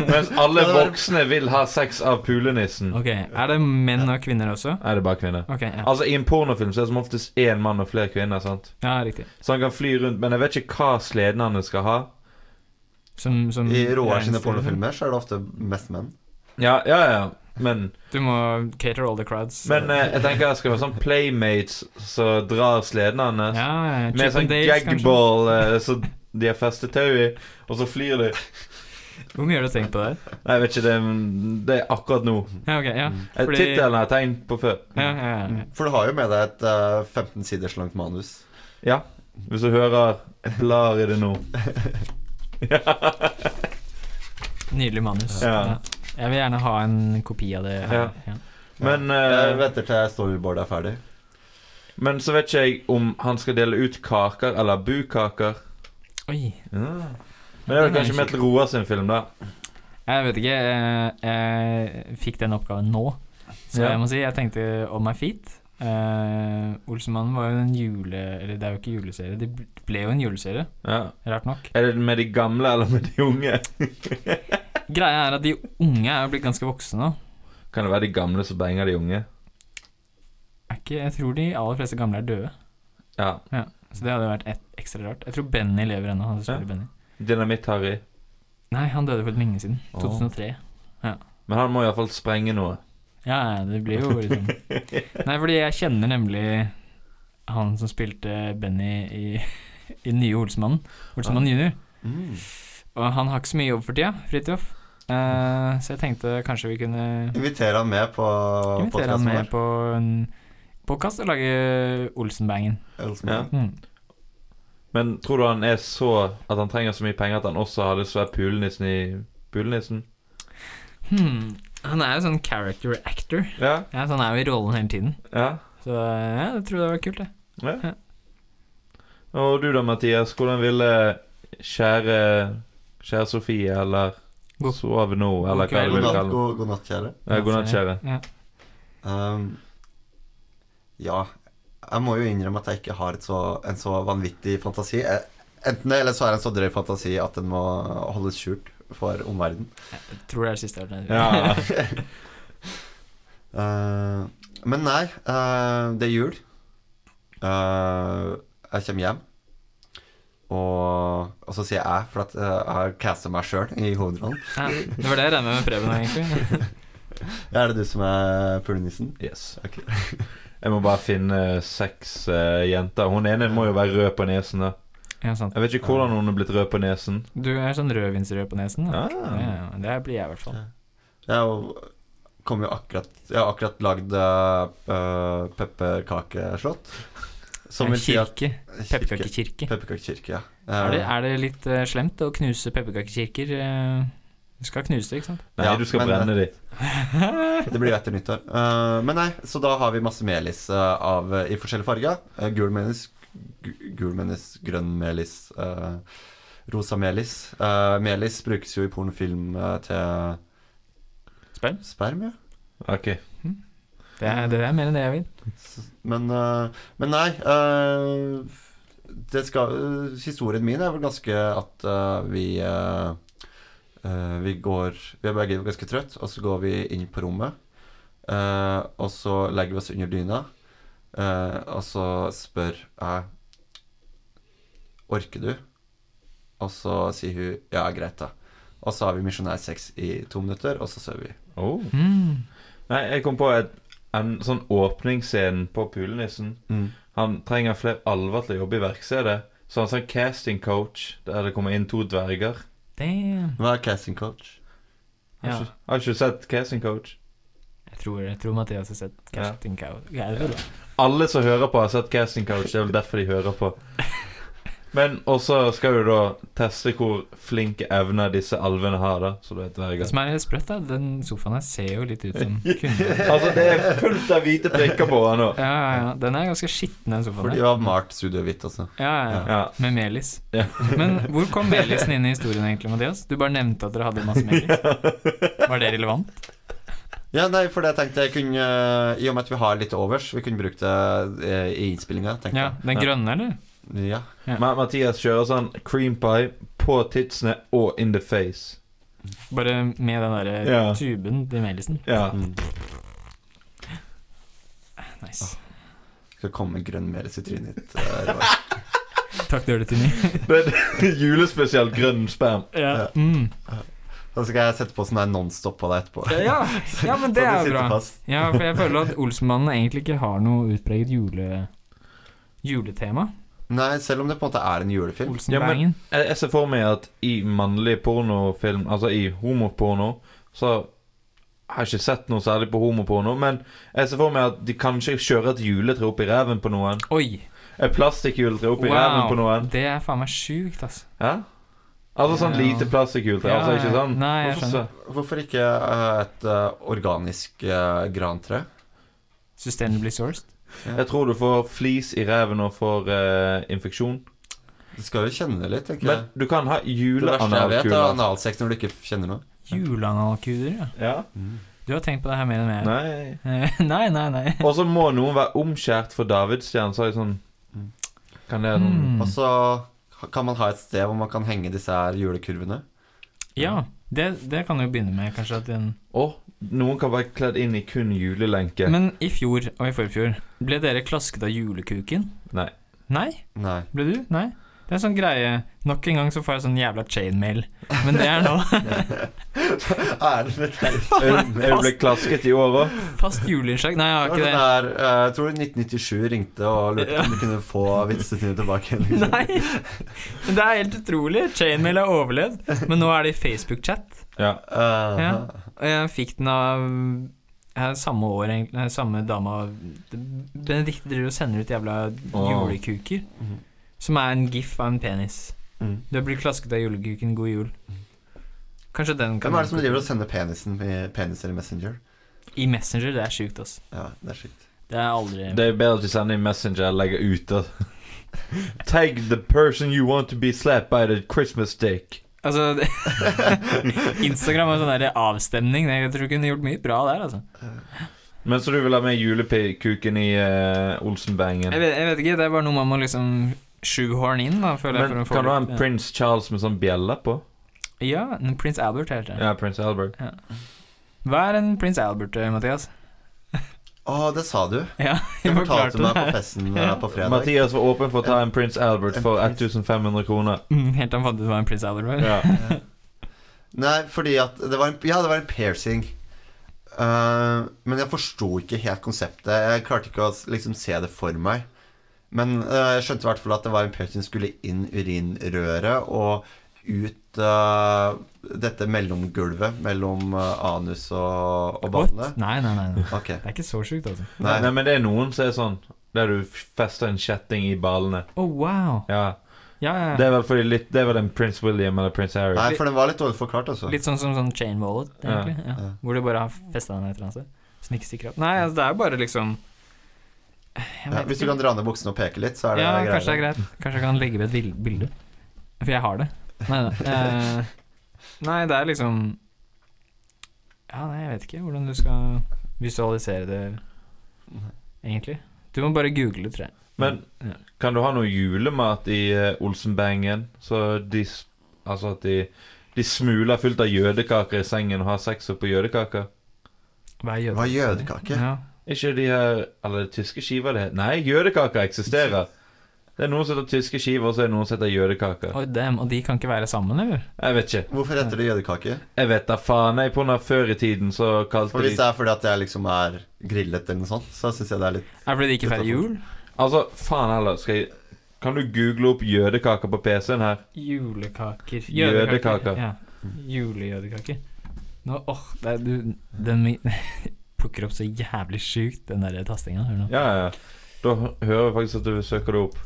[SPEAKER 4] mens alle
[SPEAKER 2] Skal det være-
[SPEAKER 4] voksne vil ha sex av pulenissen.
[SPEAKER 3] Ok, Er det menn og kvinner også?
[SPEAKER 4] Nei, det er bare kvinner.
[SPEAKER 3] Ok, ja,
[SPEAKER 4] Altså I en pornofilm så er det som oftest én mann og flere kvinner. sant?
[SPEAKER 3] ja riktig.
[SPEAKER 4] Så han kan fly rundt, men jeg vet ikke hva sleden han skal ha.
[SPEAKER 3] Som,
[SPEAKER 4] Mm,
[SPEAKER 3] som
[SPEAKER 2] I Roar sine
[SPEAKER 3] reinsdyr.
[SPEAKER 2] pornofilmer så er det ofte mest menn.
[SPEAKER 4] Ja, ja, ja. Men,
[SPEAKER 3] Du må cater all the crowds.
[SPEAKER 4] men eh, jeg tenker det skal være sånn playmates som drar sleden
[SPEAKER 3] ja,
[SPEAKER 4] hans.
[SPEAKER 3] ja, ja.
[SPEAKER 4] Med
[SPEAKER 3] Chip and
[SPEAKER 4] sånn
[SPEAKER 3] Dales, kanskje?
[SPEAKER 4] gagball eh, som de har festet tau i, og så flyr de.
[SPEAKER 3] Hvor mye har du tenkt på det?
[SPEAKER 4] Nei, jeg vet ikke, det, er- det er akkurat nå.
[SPEAKER 3] Ja, ok, ja.
[SPEAKER 4] Eh,
[SPEAKER 3] Fordi-
[SPEAKER 4] Tittelen har jeg tegnet på før.
[SPEAKER 3] Ja, ja, ja.
[SPEAKER 2] For du har jo med deg et eh, 15 siders langt manus.
[SPEAKER 4] Ja, hvis du hører blar i det nå.
[SPEAKER 3] Nydelig manus.
[SPEAKER 4] Ja.
[SPEAKER 3] Jeg vil gjerne ha en kopi av det. her. Ja.
[SPEAKER 4] Men, eh,
[SPEAKER 2] Jeg venter til storyboardet er ferdig.
[SPEAKER 4] men så vet ikke jeg om han skal dele ut kaker eller bukaker.
[SPEAKER 3] Oi.
[SPEAKER 4] Ja. Men det er vel kanskje mer til Roar sin film, da.
[SPEAKER 3] Jeg vet ikke. eh, Jeg fikk den oppgaven nå, så
[SPEAKER 4] Ja.
[SPEAKER 3] jeg må si jeg tenkte on my feet. Eh, Olsenmannen var jo en jule... Eller det er jo ikke juleserie. Det ble jo en juleserie,
[SPEAKER 4] Ja.
[SPEAKER 3] rart nok.
[SPEAKER 4] Er det med de gamle eller med de unge?
[SPEAKER 3] Greia er at de unge er jo blitt ganske voksne nå.
[SPEAKER 4] Kan det være de gamle som banger de unge?
[SPEAKER 3] Er ikke, jeg tror de aller fleste gamle er døde,
[SPEAKER 4] Ja.
[SPEAKER 3] så det hadde jo vært et, ekstra rart. Jeg tror Benny lever ennå. Han som spiller
[SPEAKER 4] Ja.
[SPEAKER 3] Benny.
[SPEAKER 4] Dynamitt-Harry.
[SPEAKER 3] Nei, han døde for et lenge siden.
[SPEAKER 4] Åh.
[SPEAKER 3] 2003.
[SPEAKER 4] Men han må iallfall sprenge noe.
[SPEAKER 3] Ja, ja, det blir jo liksom Nei, fordi jeg kjenner nemlig han som spilte Benny i, i Nye Olsmannen.
[SPEAKER 4] Ah.
[SPEAKER 3] Olsmannen junior.
[SPEAKER 2] Mm.
[SPEAKER 3] Og han har ikke så mye jobb for tida, Fridtjof. Eh, så jeg tenkte kanskje vi kunne
[SPEAKER 2] Inviter han med på
[SPEAKER 3] invitere han
[SPEAKER 2] podcasten
[SPEAKER 3] med på en podkast og lage Olsenbangen.
[SPEAKER 2] vår. Elsemann.
[SPEAKER 4] Ja.
[SPEAKER 3] Mm.
[SPEAKER 4] Men tror du han er så At han trenger så mye penger at han også har lyst til å være pulenissen i Pulenissen?
[SPEAKER 3] Hmm. Han er jo sånn character actor.
[SPEAKER 4] Ja?
[SPEAKER 3] Ja, så han er jo i rollen hele tiden.
[SPEAKER 4] Ja?
[SPEAKER 3] Så ja, det tror jeg det var kult, det.
[SPEAKER 4] Ja.
[SPEAKER 3] Ja.
[SPEAKER 4] Det Og du da, Mathias, hvordan ville kjære Kjære Sofie, eller
[SPEAKER 3] God-
[SPEAKER 4] Sove nå, eller hva
[SPEAKER 3] kveld.
[SPEAKER 4] du
[SPEAKER 2] God
[SPEAKER 4] vil
[SPEAKER 2] natt,
[SPEAKER 4] kalle det.
[SPEAKER 2] god, god natt kjære.
[SPEAKER 4] Ja, God natt, kjære.
[SPEAKER 3] Altså, Ja.
[SPEAKER 2] Ehm, ja, jeg må jo innrømme at jeg ikke har et så, en så vanvittig fantasi. Eh, Enten det, eller så er det en så drøy fantasi at den må holdes skjult for omverdenen.
[SPEAKER 3] Jeg tror det er det siste alternativet.
[SPEAKER 4] Ja.
[SPEAKER 2] Eh, men nei, eh, det er jul. Eh, jeg kommer hjem. Og, og så sier jeg 'jeg', for at eh, jeg har castet meg sjøl i hovedrollen.
[SPEAKER 3] Ja, det var det jeg regnet med med Preben, egentlig.
[SPEAKER 2] Er det du som er pulenissen?
[SPEAKER 4] Yes.
[SPEAKER 2] Ok.
[SPEAKER 4] Jeg må bare finne seks eh, jenter. Hun ene må jo være rød på nesen. da
[SPEAKER 3] Ja, sant.
[SPEAKER 4] Jeg vet ikke hvordan hun er blitt rød på nesen.
[SPEAKER 3] Du er sånn rødvinsrød på nesen. Da.
[SPEAKER 4] Ah.
[SPEAKER 3] Ja, ja, det blir jeg i hvert fall.
[SPEAKER 2] Jeg er jo- kom jo akkurat Jeg har akkurat lagd uh, pepperkakeslott. Som
[SPEAKER 3] En
[SPEAKER 2] vil si at
[SPEAKER 3] kirke. Pepperkakekirke.
[SPEAKER 2] Pepperkakekirke, ja.
[SPEAKER 3] Er, det-
[SPEAKER 2] Eh,
[SPEAKER 3] er det litt eh, slemt å knuse pepperkakekirker? eh? Du skal knuse det, ikke sant?
[SPEAKER 4] Nei,
[SPEAKER 2] Ja,
[SPEAKER 4] du skal
[SPEAKER 2] men,
[SPEAKER 4] brenne de.
[SPEAKER 2] Det blir jo etter nyttår. Eh, men nei, så da har vi masse melis eh, av, i forskjellige farger. Eh, gul melis, gu- gul melis, grønn melis, eh, rosa melis. Eh, melis brukes jo i pornofilm eh, til
[SPEAKER 3] Sperm?
[SPEAKER 2] Sperm, ja.
[SPEAKER 4] Ok.
[SPEAKER 3] Det er, det er mer enn det jeg vil.
[SPEAKER 2] S- Men, eh, men nei eh, det skal, eh, Historien min er vel ganske at eh, vi eh, eh, Vi går Vi er begge ganske trøtt og så går vi inn på rommet. eh, og så legger vi oss under dyna, eh, og så spør jeg Orker du? Og så sier hun ja, greit, da. Og så har vi misjonærsex i to minutter, og så sover vi.
[SPEAKER 4] Oh.
[SPEAKER 3] Mm.
[SPEAKER 4] Nei, jeg kom på et, en sånn åpningsscene på Pulenissen. Han trenger flere alver til å jobbe i verkstedet. Så han sa casting coach, der det kommer inn to dverger.
[SPEAKER 3] Damn.
[SPEAKER 2] Hva er casting coach?
[SPEAKER 4] Har
[SPEAKER 3] Ja,
[SPEAKER 4] ikke, har ikke sett casting coach?
[SPEAKER 3] jeg tror, jeg tror Mathias har sett Casting Cow. Ja, det er bra.
[SPEAKER 4] Alle som hører på, har sett Casting Couch. Det er vel derfor de hører på. Men også skal du da teste hvor flinke evner disse alvene har, da. Så du vet hver
[SPEAKER 3] Det
[SPEAKER 4] gang.
[SPEAKER 3] som er sprøtt, da, den sofaen her ser jo litt ut som kunne
[SPEAKER 4] Altså, det er fullt av hvite prikker på han nå.
[SPEAKER 3] Ja, ja, ja. Den er ganske skitten, den sofaen.
[SPEAKER 2] For de
[SPEAKER 3] der.
[SPEAKER 2] har malt studioet hvitt, altså.
[SPEAKER 3] Ja, ja, ja.
[SPEAKER 4] Ja.
[SPEAKER 3] Med melis.
[SPEAKER 4] Ja.
[SPEAKER 3] Men hvor kom melisen inn i historien egentlig, Mathias? Du bare nevnte at dere hadde masse melis. Var det relevant?
[SPEAKER 2] Ja, nei, for det tenkte jeg kunne eh, I og med at vi har litt overs, vi kunne brukt det eh, i innspillinga, tenkte
[SPEAKER 3] Ja, Den grønne, eller?
[SPEAKER 2] jeg. Ja.
[SPEAKER 4] Ma- Mathias kjører sånn cream pie på tidsene og in the face.
[SPEAKER 3] Bare med den derre
[SPEAKER 4] Ja.
[SPEAKER 3] tuben til melisen.
[SPEAKER 4] Ja.
[SPEAKER 2] Mm.
[SPEAKER 3] Nice.
[SPEAKER 2] Skal komme grønn melis i trynet ditt. eh, Roar.
[SPEAKER 3] Ah. Takk, du gjør det til meg.
[SPEAKER 4] Men julespesielt grønn sperm.
[SPEAKER 3] Ja. Mm.
[SPEAKER 2] Da skal jeg sette på sånn der nonstop på deg etterpå.
[SPEAKER 3] Ja, ja, men det
[SPEAKER 2] Så du
[SPEAKER 3] er
[SPEAKER 2] sitter
[SPEAKER 3] bra.
[SPEAKER 2] fast.
[SPEAKER 3] Ja, for jeg føler at Olsenmannen egentlig ikke har noe utpreget jule... juletema.
[SPEAKER 2] Nei, selv om det på en måte er en julefilm.
[SPEAKER 3] Olsenbangen.
[SPEAKER 4] Jeg, jeg ser for meg at i mannlig pornofilm, altså i homoporno, så har jeg ikke sett noe særlig på homoporno, men jeg ser for meg at de kanskje kjører et juletre opp i ræven på noen.
[SPEAKER 3] Oi!
[SPEAKER 4] Et plastikkjuletre opp i ræven på
[SPEAKER 3] Wow.
[SPEAKER 4] noen.
[SPEAKER 3] Det er faen meg sjukt, ass.
[SPEAKER 4] Ja? Altså sånn
[SPEAKER 3] Ja.
[SPEAKER 4] lite plastikkjuletre, altså ikke sånn?
[SPEAKER 3] Nei, jeg
[SPEAKER 4] Hvorfor
[SPEAKER 3] skjønner.
[SPEAKER 4] så-
[SPEAKER 2] Hvorfor ikke eh, et eh, organisk eh, grantre?
[SPEAKER 3] Sustainably sourced.
[SPEAKER 4] Jeg tror du får flis i ræven og får eh, infeksjon.
[SPEAKER 2] Du skal jo kjenne det litt, tenker
[SPEAKER 4] Men
[SPEAKER 2] jeg.
[SPEAKER 4] du kan ha
[SPEAKER 2] Det verste jeg vet, er
[SPEAKER 3] altså.
[SPEAKER 4] juleanalkuler.
[SPEAKER 2] analsex når du ikke kjenner noe.
[SPEAKER 3] Juleanalkuder, ja.
[SPEAKER 4] Ja?
[SPEAKER 3] Du har tenkt på det her mer enn meg.
[SPEAKER 4] Nei.
[SPEAKER 3] Eh, nei, nei, nei.
[SPEAKER 4] Og så må noen være omskjært for davidsstjernen, så er det sånn Kan det sånn
[SPEAKER 3] Mm.
[SPEAKER 2] Og så kan man ha et sted hvor man kan henge disse her julekurvene.
[SPEAKER 3] Ja, det, det kan du jo begynne med, kanskje. At den...
[SPEAKER 4] Å, noen kan være kledd inn i kun julelenke.
[SPEAKER 3] Men i fjor og i forfjor, ble dere klasket av julekuken?
[SPEAKER 4] Nei.
[SPEAKER 3] Nei?
[SPEAKER 2] Nei.
[SPEAKER 3] Ble du? Nei? Det er en sånn greie Nok en gang så får jeg sånn jævla chainmail. Men det er nå
[SPEAKER 2] Er det
[SPEAKER 4] Er du- er du blitt klasket i år òg?
[SPEAKER 3] fast juleinnslag. Nei, jeg har
[SPEAKER 2] Det
[SPEAKER 3] ikke
[SPEAKER 2] var
[SPEAKER 3] det.
[SPEAKER 2] sånn der, eh, jeg tror 1997 ringte og lurte på om de kunne få vitsene sine tilbake. igjen, liksom.
[SPEAKER 3] Nei! Men det er helt utrolig. Chainmail har overlevd. Men nå er det i Facebook-chat.
[SPEAKER 4] Ja.
[SPEAKER 2] Eh,
[SPEAKER 3] Ja. Og jeg fikk den av ja, samme år, egentlig. Nei, Samme dama Benedicte driver og sender ut jævla
[SPEAKER 4] Åh.
[SPEAKER 3] julekuker.
[SPEAKER 2] Mhm.
[SPEAKER 3] Som er en gif av en penis.
[SPEAKER 2] Mm.
[SPEAKER 3] Du blir klasket av julekuken. God jul. Kanskje den kan
[SPEAKER 2] Hvem er det som driver og sender penisen i peniser i Messenger?
[SPEAKER 3] I Messenger. Det er sjukt, ass.
[SPEAKER 2] Ja, det er sjukt.
[SPEAKER 3] Det er aldri
[SPEAKER 4] Det er bedre at du sender i Messenger og legger ut det. Tag the person you want to be slapped by the Christmas dick.
[SPEAKER 3] Altså det- Instagram er sånn der avstemning. Jeg tror du kunne gjort mye bra der, altså.
[SPEAKER 4] Men så du vil ha med julekuken i eh, Olsenbangen?
[SPEAKER 3] Jeg vet, jeg vet ikke, det er bare noe man må liksom shoehorn inn, da, føler jeg.
[SPEAKER 4] Men
[SPEAKER 3] for å få
[SPEAKER 4] kan du ha
[SPEAKER 3] litt-
[SPEAKER 4] en Prince Charles med sånn bjelle på?
[SPEAKER 3] Ja, en prins Albert heter det.
[SPEAKER 4] Ja, Prince Albert.
[SPEAKER 3] Hva er en prins Albert, eh, Mathias?
[SPEAKER 2] Å, det sa du.
[SPEAKER 3] Ja,
[SPEAKER 2] Det
[SPEAKER 3] jeg forklarte
[SPEAKER 2] fortalte du
[SPEAKER 3] det.
[SPEAKER 2] meg på festen eh, på fredag.
[SPEAKER 4] Mathias var åpen for å ta en Prince Albert
[SPEAKER 2] En
[SPEAKER 4] for
[SPEAKER 2] prins-
[SPEAKER 4] 1500 kroner.
[SPEAKER 3] Mm, Helt til han fant ut hva en prins Albert var.
[SPEAKER 4] Ja.
[SPEAKER 2] Nei, fordi at det var en, Ja, det var en piercing. Eh, men jeg forsto ikke helt konseptet. Jeg klarte ikke å liksom se det for meg. Men eh, jeg skjønte i hvert fall at det var en piercing som skulle inn urinrøret og ut eh, dette mellomgulvet mellom eh, anus og,
[SPEAKER 3] What?
[SPEAKER 2] og ballene.
[SPEAKER 3] Nei, nei, nei, nei.
[SPEAKER 2] Ok.
[SPEAKER 3] Det er ikke så sjukt, altså.
[SPEAKER 4] Nei.
[SPEAKER 2] Nei.
[SPEAKER 4] men det er noen som er sånn der du fester en kjetting i ballene.
[SPEAKER 3] Å, Oh, wow.
[SPEAKER 4] Ja.
[SPEAKER 3] Ja, ja,
[SPEAKER 4] Det
[SPEAKER 3] ja.
[SPEAKER 4] er vel fordi litt Det er vel en Prince William eller Prince Harry.
[SPEAKER 2] Nei, for den var litt dårlig forklart, altså.
[SPEAKER 3] Litt sånn som sånn chain wallet,
[SPEAKER 4] Ja,
[SPEAKER 3] egentlig. Ja.
[SPEAKER 2] ja.
[SPEAKER 3] Hvor du bare har festa den et eller annet sted. Som ikke stikker opp. Nei, altså, det er jo bare liksom Jeg
[SPEAKER 2] Ja,
[SPEAKER 3] vet
[SPEAKER 2] hvis
[SPEAKER 3] ikke.
[SPEAKER 2] du kan dra ned buksene og peke litt, så er det
[SPEAKER 3] ja,
[SPEAKER 2] greier.
[SPEAKER 3] kanskje det er greit. Kanskje jeg kan legge ved et vil- bilde. For jeg har det. Nei, nei. eh, nei det er liksom Ja, nei, jeg vet ikke hvordan du skal visualisere det, egentlig. Du må bare google det, tror jeg.
[SPEAKER 4] Men
[SPEAKER 3] Ja.
[SPEAKER 4] kan du ha noe julemat i eh, Olsenbangen? Så de s- Altså at de de smuler fullt av jødekaker i sengen og har sex oppå jødekaker?
[SPEAKER 3] Hva er
[SPEAKER 2] Hva er jødekake?
[SPEAKER 3] Ja.
[SPEAKER 4] Ikke de her Eller det tyske skiver det heter? Nei, jødekaker eksisterer. Det er noen som heter tyske skiver, og så er det noen som heter jødekaker.
[SPEAKER 3] Oi, dem, og de kan ikke være sammen, eller?
[SPEAKER 4] Jeg vet ikke.
[SPEAKER 2] Hvorfor heter det jødekake?
[SPEAKER 4] Jeg vet da faen. Jeg på når før i tiden så kalte
[SPEAKER 2] For
[SPEAKER 4] de
[SPEAKER 2] Hvis det er fordi at jeg liksom er grillet eller noe sånt, så syns jeg det er sånn litt
[SPEAKER 3] Er det fordi de ikke feirer jul?
[SPEAKER 4] Altså, faen heller. Skal jeg Kan du google opp jødekaker på PC-en her?
[SPEAKER 3] Julekaker.
[SPEAKER 4] Jødekaker.
[SPEAKER 3] Ja. Julejødekaker. Nå, åh, det er du Den mi- plukker opp så jævlig sjukt, den der tastinga. Hør nå.
[SPEAKER 4] Ja, ja. Da hø- hører jeg faktisk at du søker det opp.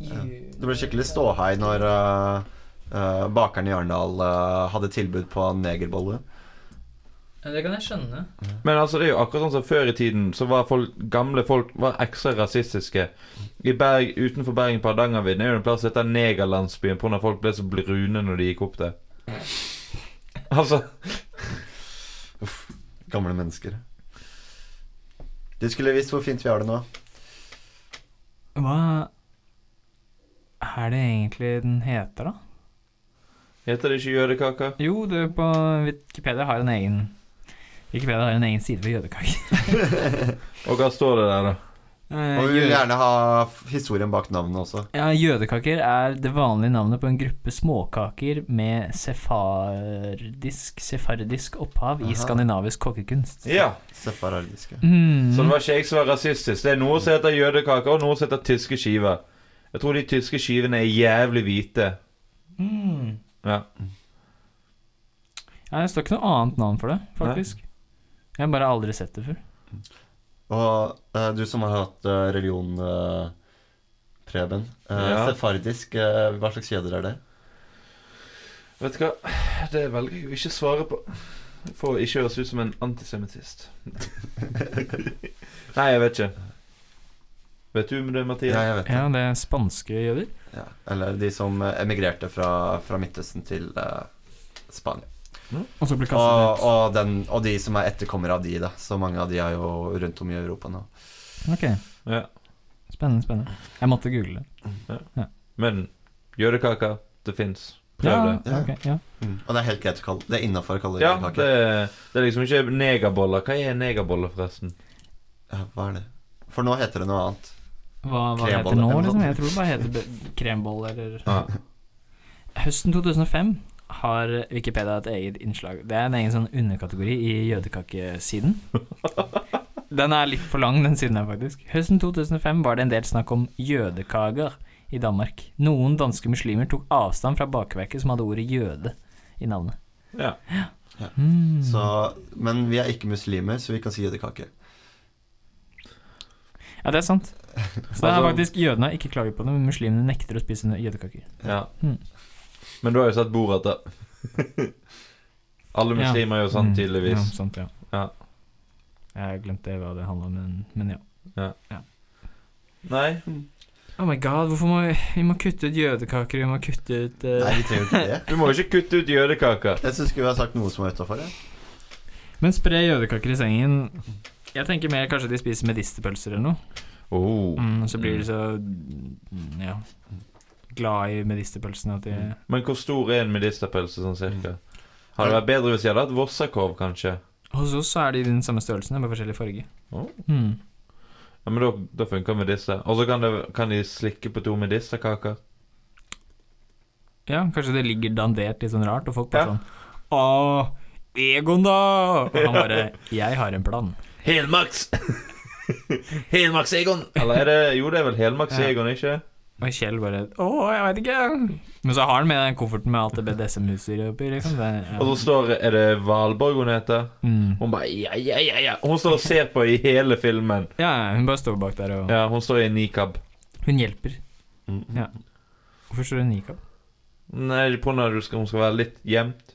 [SPEAKER 2] Det ble skikkelig ståhei når eh, eh, bakeren i Arendal eh, hadde tilbud på negerbolle.
[SPEAKER 3] Ja, det kan jeg skjønne.
[SPEAKER 4] Men altså, det er jo akkurat sånn som før i tiden, så var folk, gamle folk var ekstra rasistiske. I Berg, Utenfor Bergen på Hardangervidda er jo en plass som heter Negerlandsbyen, pga. folk ble så brune når de gikk opp der. Altså
[SPEAKER 2] Gamle mennesker. Du skulle visst hvor fint vi har det nå.
[SPEAKER 3] Hva er det egentlig den heter, da?
[SPEAKER 4] Heter det ikke jødekaker?
[SPEAKER 3] Jo, du, på Wikipedia har en egen Wikipedia har en egen side for jødekaker.
[SPEAKER 4] Og hva står det der, da?
[SPEAKER 3] Eh,
[SPEAKER 2] Og vi vil
[SPEAKER 3] jøde-
[SPEAKER 2] gjerne ha f- historien bak navnet også.
[SPEAKER 3] Ja, Jødekaker er det vanlige navnet på en gruppe småkaker med sefardisk, sefardisk opphav
[SPEAKER 2] Aha.
[SPEAKER 3] i skandinavisk kokkekunst.
[SPEAKER 4] Ja.
[SPEAKER 2] Sefaradiske.
[SPEAKER 3] Mm.
[SPEAKER 4] Så det var ikke jeg som var rasistisk. Det er noe som heter jødekaker, og noe som heter tyske skiver. Jeg tror de tyske skivene er jævlig hvite.
[SPEAKER 3] mm.
[SPEAKER 4] Ja.
[SPEAKER 3] Ja, det står ikke noe annet navn for det, faktisk. Jeg har bare aldri sett det før.
[SPEAKER 2] Og eh, du som har hatt eh, religion, eh, Preben. eh,
[SPEAKER 4] Ja.
[SPEAKER 2] Sefardisk, eh, hva slags jøder er det?
[SPEAKER 4] Vet du hva, det velger jeg å ikke svare på. For å ikke høres ut som en antisemittist. Nei, jeg vet ikke. Vet du om det, Mathias?
[SPEAKER 2] Ja, jeg vet det.
[SPEAKER 3] Ja, det er spanske jøder.
[SPEAKER 2] Ja, eller de som eh, emigrerte fra, fra Midtøsten til eh, Spania.
[SPEAKER 3] Og så blir
[SPEAKER 4] Ah,
[SPEAKER 2] Og,
[SPEAKER 3] kastet ut.
[SPEAKER 2] og, den, og de som er etterkommere av de, da. Så mange av de er jo rundt om i Europa nå.
[SPEAKER 3] Ok,
[SPEAKER 4] Ja.
[SPEAKER 3] spennende, spennende. Jeg måtte google det.
[SPEAKER 4] Men jødekaker, det fins. Prøv
[SPEAKER 3] ja,
[SPEAKER 4] det.
[SPEAKER 2] det.
[SPEAKER 3] ok, ja.
[SPEAKER 2] Og det er helt greit å kalle det er innafor å kalle det
[SPEAKER 4] Ja,
[SPEAKER 2] kake.
[SPEAKER 4] det, det er liksom ikke negerboller. Hva er negerboller, forresten?
[SPEAKER 2] Ja, hva er det? For nå heter det noe annet.
[SPEAKER 3] Hva, hva det heter
[SPEAKER 2] Krembolle
[SPEAKER 3] nå,
[SPEAKER 2] eller
[SPEAKER 3] liksom?
[SPEAKER 2] noe sånt.
[SPEAKER 3] Jeg tror det bare heter be- kremboll eller
[SPEAKER 4] Ah.
[SPEAKER 3] Høsten 2005 har Wikipedia et eget innslag. Det er en egen sånn underkategori i jødekakesiden. Den er litt for lang, den siden her, faktisk. Høsten 2005 var det en del snakk om jødekager i Danmark. Noen danske muslimer tok avstand fra bakverket som hadde ordet jøde i navnet.
[SPEAKER 4] Ja.
[SPEAKER 3] Mm.
[SPEAKER 2] Så, men vi er ikke muslimer, så vi kan si jødekake.
[SPEAKER 3] Ja, det er sant. Så det
[SPEAKER 4] Altså-
[SPEAKER 3] er faktisk jødene har ikke klaget på det, men muslimene nekter å spise jødekaker.
[SPEAKER 4] Ja.
[SPEAKER 3] Mm.
[SPEAKER 4] Men du har jo sett Borat, da. Alle muslimer gjør sånn,
[SPEAKER 3] Mm,
[SPEAKER 4] tydeligvis.
[SPEAKER 3] Ja, sant, ja.
[SPEAKER 4] Ja.
[SPEAKER 3] Jeg glemte hva det handla om, men, men ja.
[SPEAKER 4] Nei.
[SPEAKER 3] Oh my god, hvorfor må vi Vi må kutte ut jødekaker, vi må kutte ut eh,
[SPEAKER 2] Nei, vi trenger jo ikke det.
[SPEAKER 4] Du må jo ikke kutte ut jødekaker.
[SPEAKER 2] Jeg syns skulle ha sagt noe som var utafor.
[SPEAKER 3] Men spre jødekaker i sengen. Jeg tenker mer kanskje de spiser medisterpølser eller noe.
[SPEAKER 4] Oh.
[SPEAKER 3] Mm, så blir de så mm, ja glad i medisterpølsene at de
[SPEAKER 4] Men hvor stor er en medisterpølse sånn cirka? Hadde det vært bedre hvis jeg hadde hatt vossakorv, kanskje?
[SPEAKER 3] Hos oss så er de i den samme størrelsen, med forskjellig farge.
[SPEAKER 4] Å.
[SPEAKER 3] Mm.
[SPEAKER 4] Ja, men da, da funker medister. Og så kan, det- kan de slikke på to medisterkaker.
[SPEAKER 3] Ja, kanskje det ligger dandert litt sånn rart, og folk bare
[SPEAKER 4] Ja.
[SPEAKER 3] sånn Åh, Egon, da! Og han bare Jeg har en plan.
[SPEAKER 4] Helmaks! Helmaks Egon! Eller er det Jo, det er vel Helmaks Egon, ikke?
[SPEAKER 3] Og Kjell bare Åh, jeg veit ikke. Men så har han med den kofferten med alt det BDSM-utstyret oppi, liksom. Det,
[SPEAKER 4] Og
[SPEAKER 3] ja.
[SPEAKER 4] så står Er det Valborg hun heter?
[SPEAKER 3] Mm.
[SPEAKER 4] Hun bare ja, ja, ja, ja. Hun står og ser på i hele filmen.
[SPEAKER 3] ja, ja, hun bare står bak der og
[SPEAKER 4] Ja, hun står i en nikab.
[SPEAKER 3] Hun hjelper.
[SPEAKER 2] Mm.
[SPEAKER 3] Ja. Hvorfor står det nikab?
[SPEAKER 4] Nei, på når du skal, hun skal være litt gjemt.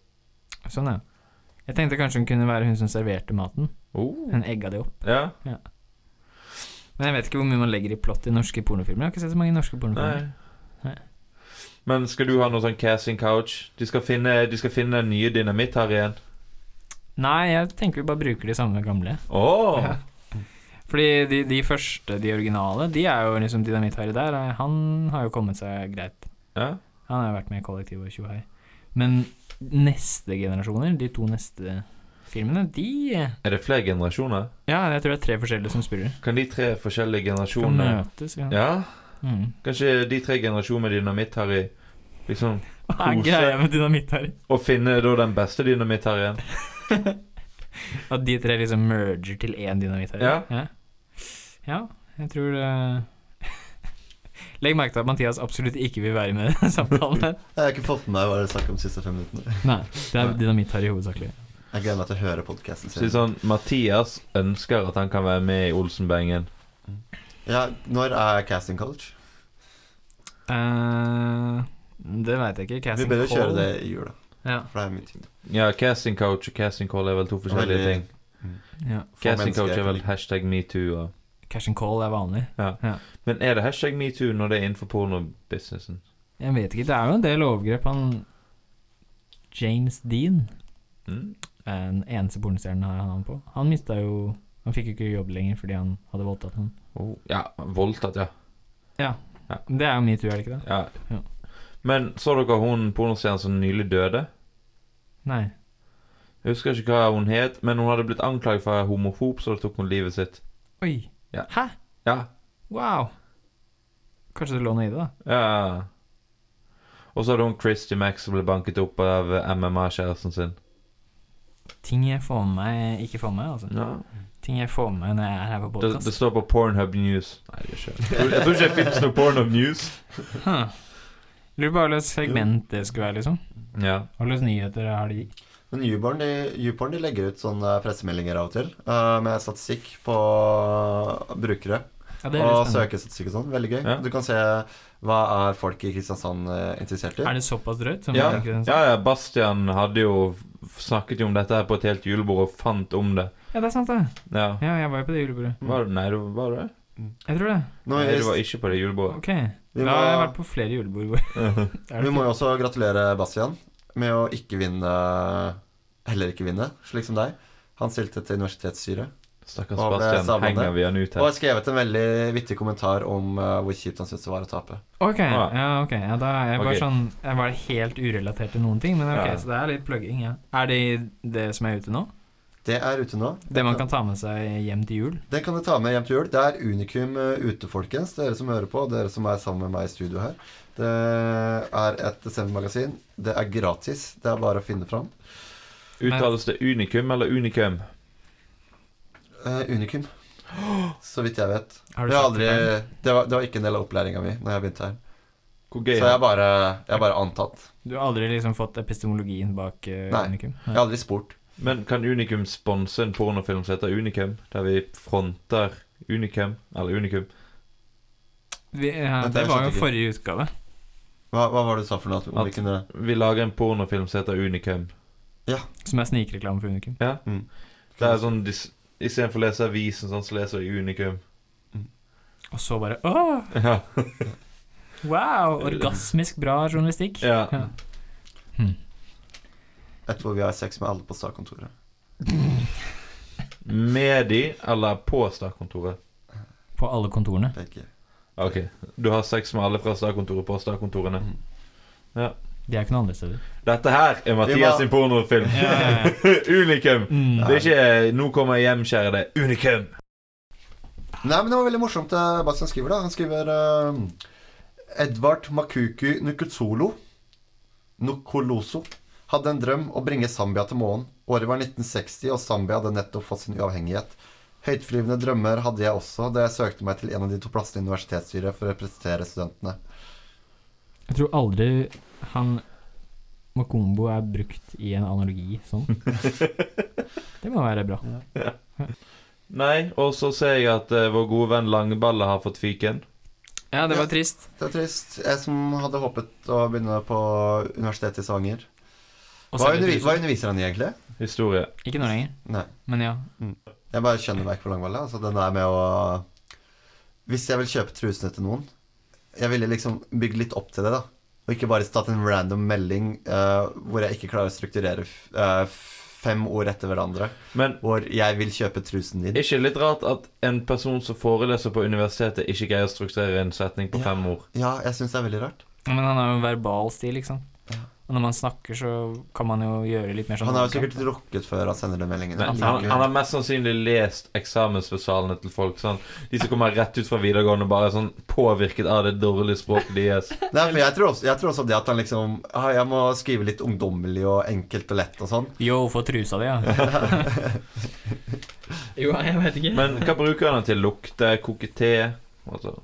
[SPEAKER 3] Sånn, ja. Jeg tenkte kanskje hun kunne være hun som serverte maten.
[SPEAKER 4] Oh.
[SPEAKER 3] Hun egga det opp.
[SPEAKER 4] Ja.
[SPEAKER 3] Men jeg vet ikke hvor mye man legger i plott i norske pornofilmer. Jeg har ikke sett så mange norske pornofilmer.
[SPEAKER 4] Nei.
[SPEAKER 3] Nei.
[SPEAKER 4] Men skal du ha noe sånn casting couch? De skal finne, de skal finne den nye dynamitt her igjen.
[SPEAKER 3] Nei. jeg tenker vi bare bruker de samme gamle.
[SPEAKER 4] Å!
[SPEAKER 3] Ja. Fordi de, de første, de originale, de er jo liksom Dynamitt-Harry der. eh, Han har jo kommet seg greit.
[SPEAKER 4] Ja.
[SPEAKER 3] Han har jo vært med i Kollektiv og Tjohei. Men neste generasjoner, de to neste filmene, de
[SPEAKER 4] Er det flere generasjoner?
[SPEAKER 3] Ja, jeg tror det er tre forskjellige som spiller.
[SPEAKER 4] Kan de tre forskjellige
[SPEAKER 3] Skal
[SPEAKER 4] generasjoner
[SPEAKER 3] møtes, ja.
[SPEAKER 4] Ja?
[SPEAKER 3] Mm.
[SPEAKER 4] Kanskje de tre generasjoner med dynamitt her i Liksom
[SPEAKER 3] Hva er
[SPEAKER 4] Kose.
[SPEAKER 3] greia med Dynamitt-Harry?
[SPEAKER 4] Å finne da den beste dynamitt her igjen.
[SPEAKER 3] At de tre liksom merger til én dynamitt her.
[SPEAKER 4] Ja.
[SPEAKER 3] ja. Ja, jeg tror det Legg merke til at Mathias absolutt ikke vil være med i denne samtalen. her.
[SPEAKER 2] Jeg har ikke fått med meg hva det er snakk om de siste fem minuttene.
[SPEAKER 3] Nei, det er dynamitt her i hovedsakelig.
[SPEAKER 2] Jeg gleder meg til å høre podkasten
[SPEAKER 4] Så det er
[SPEAKER 2] sin.
[SPEAKER 4] sånn Mathias ønsker at han kan være med i Olsenbengen.
[SPEAKER 2] Ja, når er casting college?
[SPEAKER 3] Eh, det veit jeg ikke.
[SPEAKER 2] Vi
[SPEAKER 3] Casting
[SPEAKER 2] bør jo kjøre
[SPEAKER 3] call.
[SPEAKER 2] det i jula,
[SPEAKER 3] Ja,
[SPEAKER 2] for det er min tid.
[SPEAKER 4] Ja, casting coach og casting call er vel to forskjellige
[SPEAKER 2] Veldig-
[SPEAKER 4] ting.
[SPEAKER 3] ja.
[SPEAKER 2] Få
[SPEAKER 4] Casting coach
[SPEAKER 2] mennesker-
[SPEAKER 4] er vel hashtag metoo og
[SPEAKER 3] Cash and call er vanlig.
[SPEAKER 4] Men er det hashtag metoo når det er innenfor pornobusinessen?
[SPEAKER 3] Jeg vet ikke. Det er jo en del overgrep. Han James Dean,
[SPEAKER 4] Mm?
[SPEAKER 3] eh, den eneste pornostjernen han har han på, han mista jo Han fikk jo ikke jobb lenger fordi han hadde voldtatt noen.
[SPEAKER 4] Oh, ja, voldtatt, ja.
[SPEAKER 3] Men Det er jo metoo, er det ikke det?
[SPEAKER 4] ja.
[SPEAKER 3] Ja.
[SPEAKER 4] Men så dere hun pornostjernen som nylig døde?
[SPEAKER 3] Nei.
[SPEAKER 4] Jeg husker ikke hva hun het, men hun hadde blitt anklaget for å være homofob, så da tok hun livet sitt.
[SPEAKER 3] Oi.
[SPEAKER 4] Ja.
[SPEAKER 3] Hæ?
[SPEAKER 4] Ja,
[SPEAKER 3] Wow. Kanskje det lå noe i det, da.
[SPEAKER 4] Ja. Og så hadde hun Christy Max som ble banket opp av MMA-kjæresten sin.
[SPEAKER 3] Ting jeg får med meg Ikke får med meg, altså. Ting jeg får med meg når jeg er her på
[SPEAKER 4] Det, det
[SPEAKER 3] podkast.
[SPEAKER 4] står på Pornhub News. Nei, det gjør ikke det. Jeg tror- Jeg tror ikke det fins noe Pornhub News.
[SPEAKER 3] Lurer på hva slags segment det skulle være, liksom.
[SPEAKER 4] Ja.
[SPEAKER 3] Hva slags nyheter har de?
[SPEAKER 2] Men Newborn de, YouPorn, de legger ut sånne pressemeldinger av og til, eh, med statistikk på brukere.
[SPEAKER 3] Ja, det er
[SPEAKER 2] Og
[SPEAKER 3] litt spennende.
[SPEAKER 2] søkestatistikk og sånn. Veldig gøy.
[SPEAKER 4] Ja.
[SPEAKER 2] Du kan se hva er folk i Kristiansand eh, interessert i.
[SPEAKER 3] Er det såpass drøyt? Som
[SPEAKER 4] Ja,
[SPEAKER 3] jeg tenker den sa?
[SPEAKER 4] ja, ja, Bastian hadde jo f- snakket jo om dette her på et helt julebord og fant om det.
[SPEAKER 3] ja, det er sant, det.
[SPEAKER 4] Ja.
[SPEAKER 3] Ja, jeg var jo på det julebordet.
[SPEAKER 4] Var det, nei, det var- var det?
[SPEAKER 3] Jeg tror det.
[SPEAKER 2] Nå,
[SPEAKER 4] Nei,
[SPEAKER 2] vi,
[SPEAKER 4] det var ikke på det julebordet.
[SPEAKER 3] Ok.
[SPEAKER 2] Vi
[SPEAKER 3] Da har jeg
[SPEAKER 2] må-
[SPEAKER 3] vært på flere julebord hvor Er
[SPEAKER 2] vi
[SPEAKER 3] det
[SPEAKER 2] må jo også gratulere Bastian med å ikke vinne Heller ikke vinne, slik som deg. Han stilte til universitetsstyret.
[SPEAKER 4] Stakkars
[SPEAKER 2] Hva ble
[SPEAKER 4] Bastian.
[SPEAKER 2] samlende?
[SPEAKER 4] Henger vi han ut
[SPEAKER 2] Og
[SPEAKER 4] her?
[SPEAKER 2] har skrevet en veldig vittig kommentar om eh, hvor kjipt han syntes det var å tape.
[SPEAKER 3] Ok,
[SPEAKER 4] Ah.
[SPEAKER 3] ja, ok. Ja, da er jeg bare
[SPEAKER 4] Ok.
[SPEAKER 3] sånn Jeg var helt urelatert til noen ting, men ok,
[SPEAKER 4] Ja.
[SPEAKER 3] så det er litt plugging, ja. Er det det som er ute nå?
[SPEAKER 2] Det er ute nå.
[SPEAKER 3] Det man kan ta med seg hjem til jul?
[SPEAKER 2] Den kan du ta med hjem til jul. Det er Unikum eh, ute, folkens. Dere som hører på, og dere som er sammen med meg i studio her. Det er et desembermagasin. Det er gratis. Det er bare å finne fram.
[SPEAKER 4] Uttales det Unikum eller Unikum?
[SPEAKER 2] Eh, Unikum. Så vidt jeg vet.
[SPEAKER 3] Har du
[SPEAKER 2] det, har
[SPEAKER 3] sagt
[SPEAKER 2] aldri,
[SPEAKER 3] det
[SPEAKER 2] det, var, det var ikke en del av opplæringa mi når jeg begynte her.
[SPEAKER 4] Hvor gøy
[SPEAKER 2] Så jeg
[SPEAKER 4] er
[SPEAKER 2] har bare, jeg har bare antatt.
[SPEAKER 3] Du har aldri liksom fått epistemologien bak eh,
[SPEAKER 2] Nei.
[SPEAKER 3] Unikum?
[SPEAKER 2] Jeg har aldri spurt.
[SPEAKER 4] Men kan Unikum sponse en pornofilm som heter Unikum? Der vi fronter Unikum, eller Unikum.
[SPEAKER 3] Vi, ja,
[SPEAKER 2] Vent,
[SPEAKER 3] det
[SPEAKER 2] jeg
[SPEAKER 3] var jo
[SPEAKER 2] skjønte ikke.
[SPEAKER 3] forrige utgave.
[SPEAKER 2] Hva, hva var det du sa for noe? Om
[SPEAKER 4] At-
[SPEAKER 2] vi kunne
[SPEAKER 4] Vi lager en pornofilm som heter Unikum.
[SPEAKER 3] Som er snikreklame for Unikum.
[SPEAKER 4] Det er sånn dis- Istedenfor å lese avisen, sånn, så leser jeg Unikum.
[SPEAKER 3] Og så bare Åh,
[SPEAKER 4] Ja.
[SPEAKER 3] wow! Orgasmisk bra journalistikk.
[SPEAKER 4] ja.
[SPEAKER 2] Jeg tror vi har sex med alle på statskontoret.
[SPEAKER 4] Med de, eller på Stad-kontoret?
[SPEAKER 3] På alle kontorene.
[SPEAKER 2] Begge.
[SPEAKER 4] Ok, du har sex med alle fra Stad-kontoret på Stad-kontorene.
[SPEAKER 3] De er ikke noe andre steder.
[SPEAKER 4] Dette her er
[SPEAKER 2] Vi
[SPEAKER 4] Mathias
[SPEAKER 2] må-
[SPEAKER 4] sin pornofilm.
[SPEAKER 3] Ja, ja, ja.
[SPEAKER 4] Unikum!
[SPEAKER 3] Mm.
[SPEAKER 4] Det er ikke 'nå kommer jeg hjem, kjære deg'. Unikum!
[SPEAKER 2] Nei, men det var veldig morsomt det Bastian skriver, da. Han skriver eh, Edvard Makuku Nukutsolo Nukoloso hadde en drøm å bringe Zambia til månen. Året var 1960, og Zambia hadde nettopp fått sin uavhengighet. Høytflyvende drømmer hadde jeg også da jeg søkte meg til en av de to plassene i universitetsstyret for å representere studentene.
[SPEAKER 3] Jeg tror aldri han Mokombo er brukt i en analogi sånn.
[SPEAKER 2] Hm.
[SPEAKER 3] Det må være bra.
[SPEAKER 4] Nei, og så ser jeg at eh, vår gode venn Langballe har fått fiken.
[SPEAKER 3] Ja,
[SPEAKER 2] det var
[SPEAKER 3] trist.
[SPEAKER 2] Det er trist. Jeg som hadde håpet å begynne på universitetet i Stavanger. Hva, undervi hva underviser han i, egentlig?
[SPEAKER 4] Historie.
[SPEAKER 3] Ikke nå lenger,
[SPEAKER 2] Nei.
[SPEAKER 3] men ja.
[SPEAKER 2] Jeg bare skjønner meg ikke på langballe. Altså, den der med å Hvis jeg vil kjøpe trusene til noen Jeg ville liksom bygd litt opp til det, da. Og ikke bare tatt en random melding eh, hvor jeg ikke klarer å strukturere f- eh, fem ord etter hverandre.
[SPEAKER 4] Men
[SPEAKER 2] Hvor 'jeg vil kjøpe trusen
[SPEAKER 4] er
[SPEAKER 2] din'.
[SPEAKER 4] ikke det litt rart at en person som foreleser på universitetet, ikke greier å strukturere en setning på
[SPEAKER 2] Ja.
[SPEAKER 4] fem ord?
[SPEAKER 2] Ja, jeg syns det er veldig rart.
[SPEAKER 3] Men han har jo en verbal stil, liksom. Og når man snakker, så kan man jo gjøre litt mer sånn
[SPEAKER 2] Han har jo sikkert rukket før han sender den meldingen.
[SPEAKER 4] Men han, han har mest sannsynlig lest eksamensbesalene til folk. Sånn, de som kommer rett ut fra videregående og bare er sånn påvirket av det dårlige språket deres.
[SPEAKER 2] Nei, for jeg tror, også, jeg tror også det at han liksom ah, Jeg må skrive litt ungdommelig og enkelt og lett og sånn.
[SPEAKER 3] Yo, få trusa di, ja. jo, jeg vet ikke.
[SPEAKER 4] Men hva bruker han den til? Lukte? Koke te? Altså,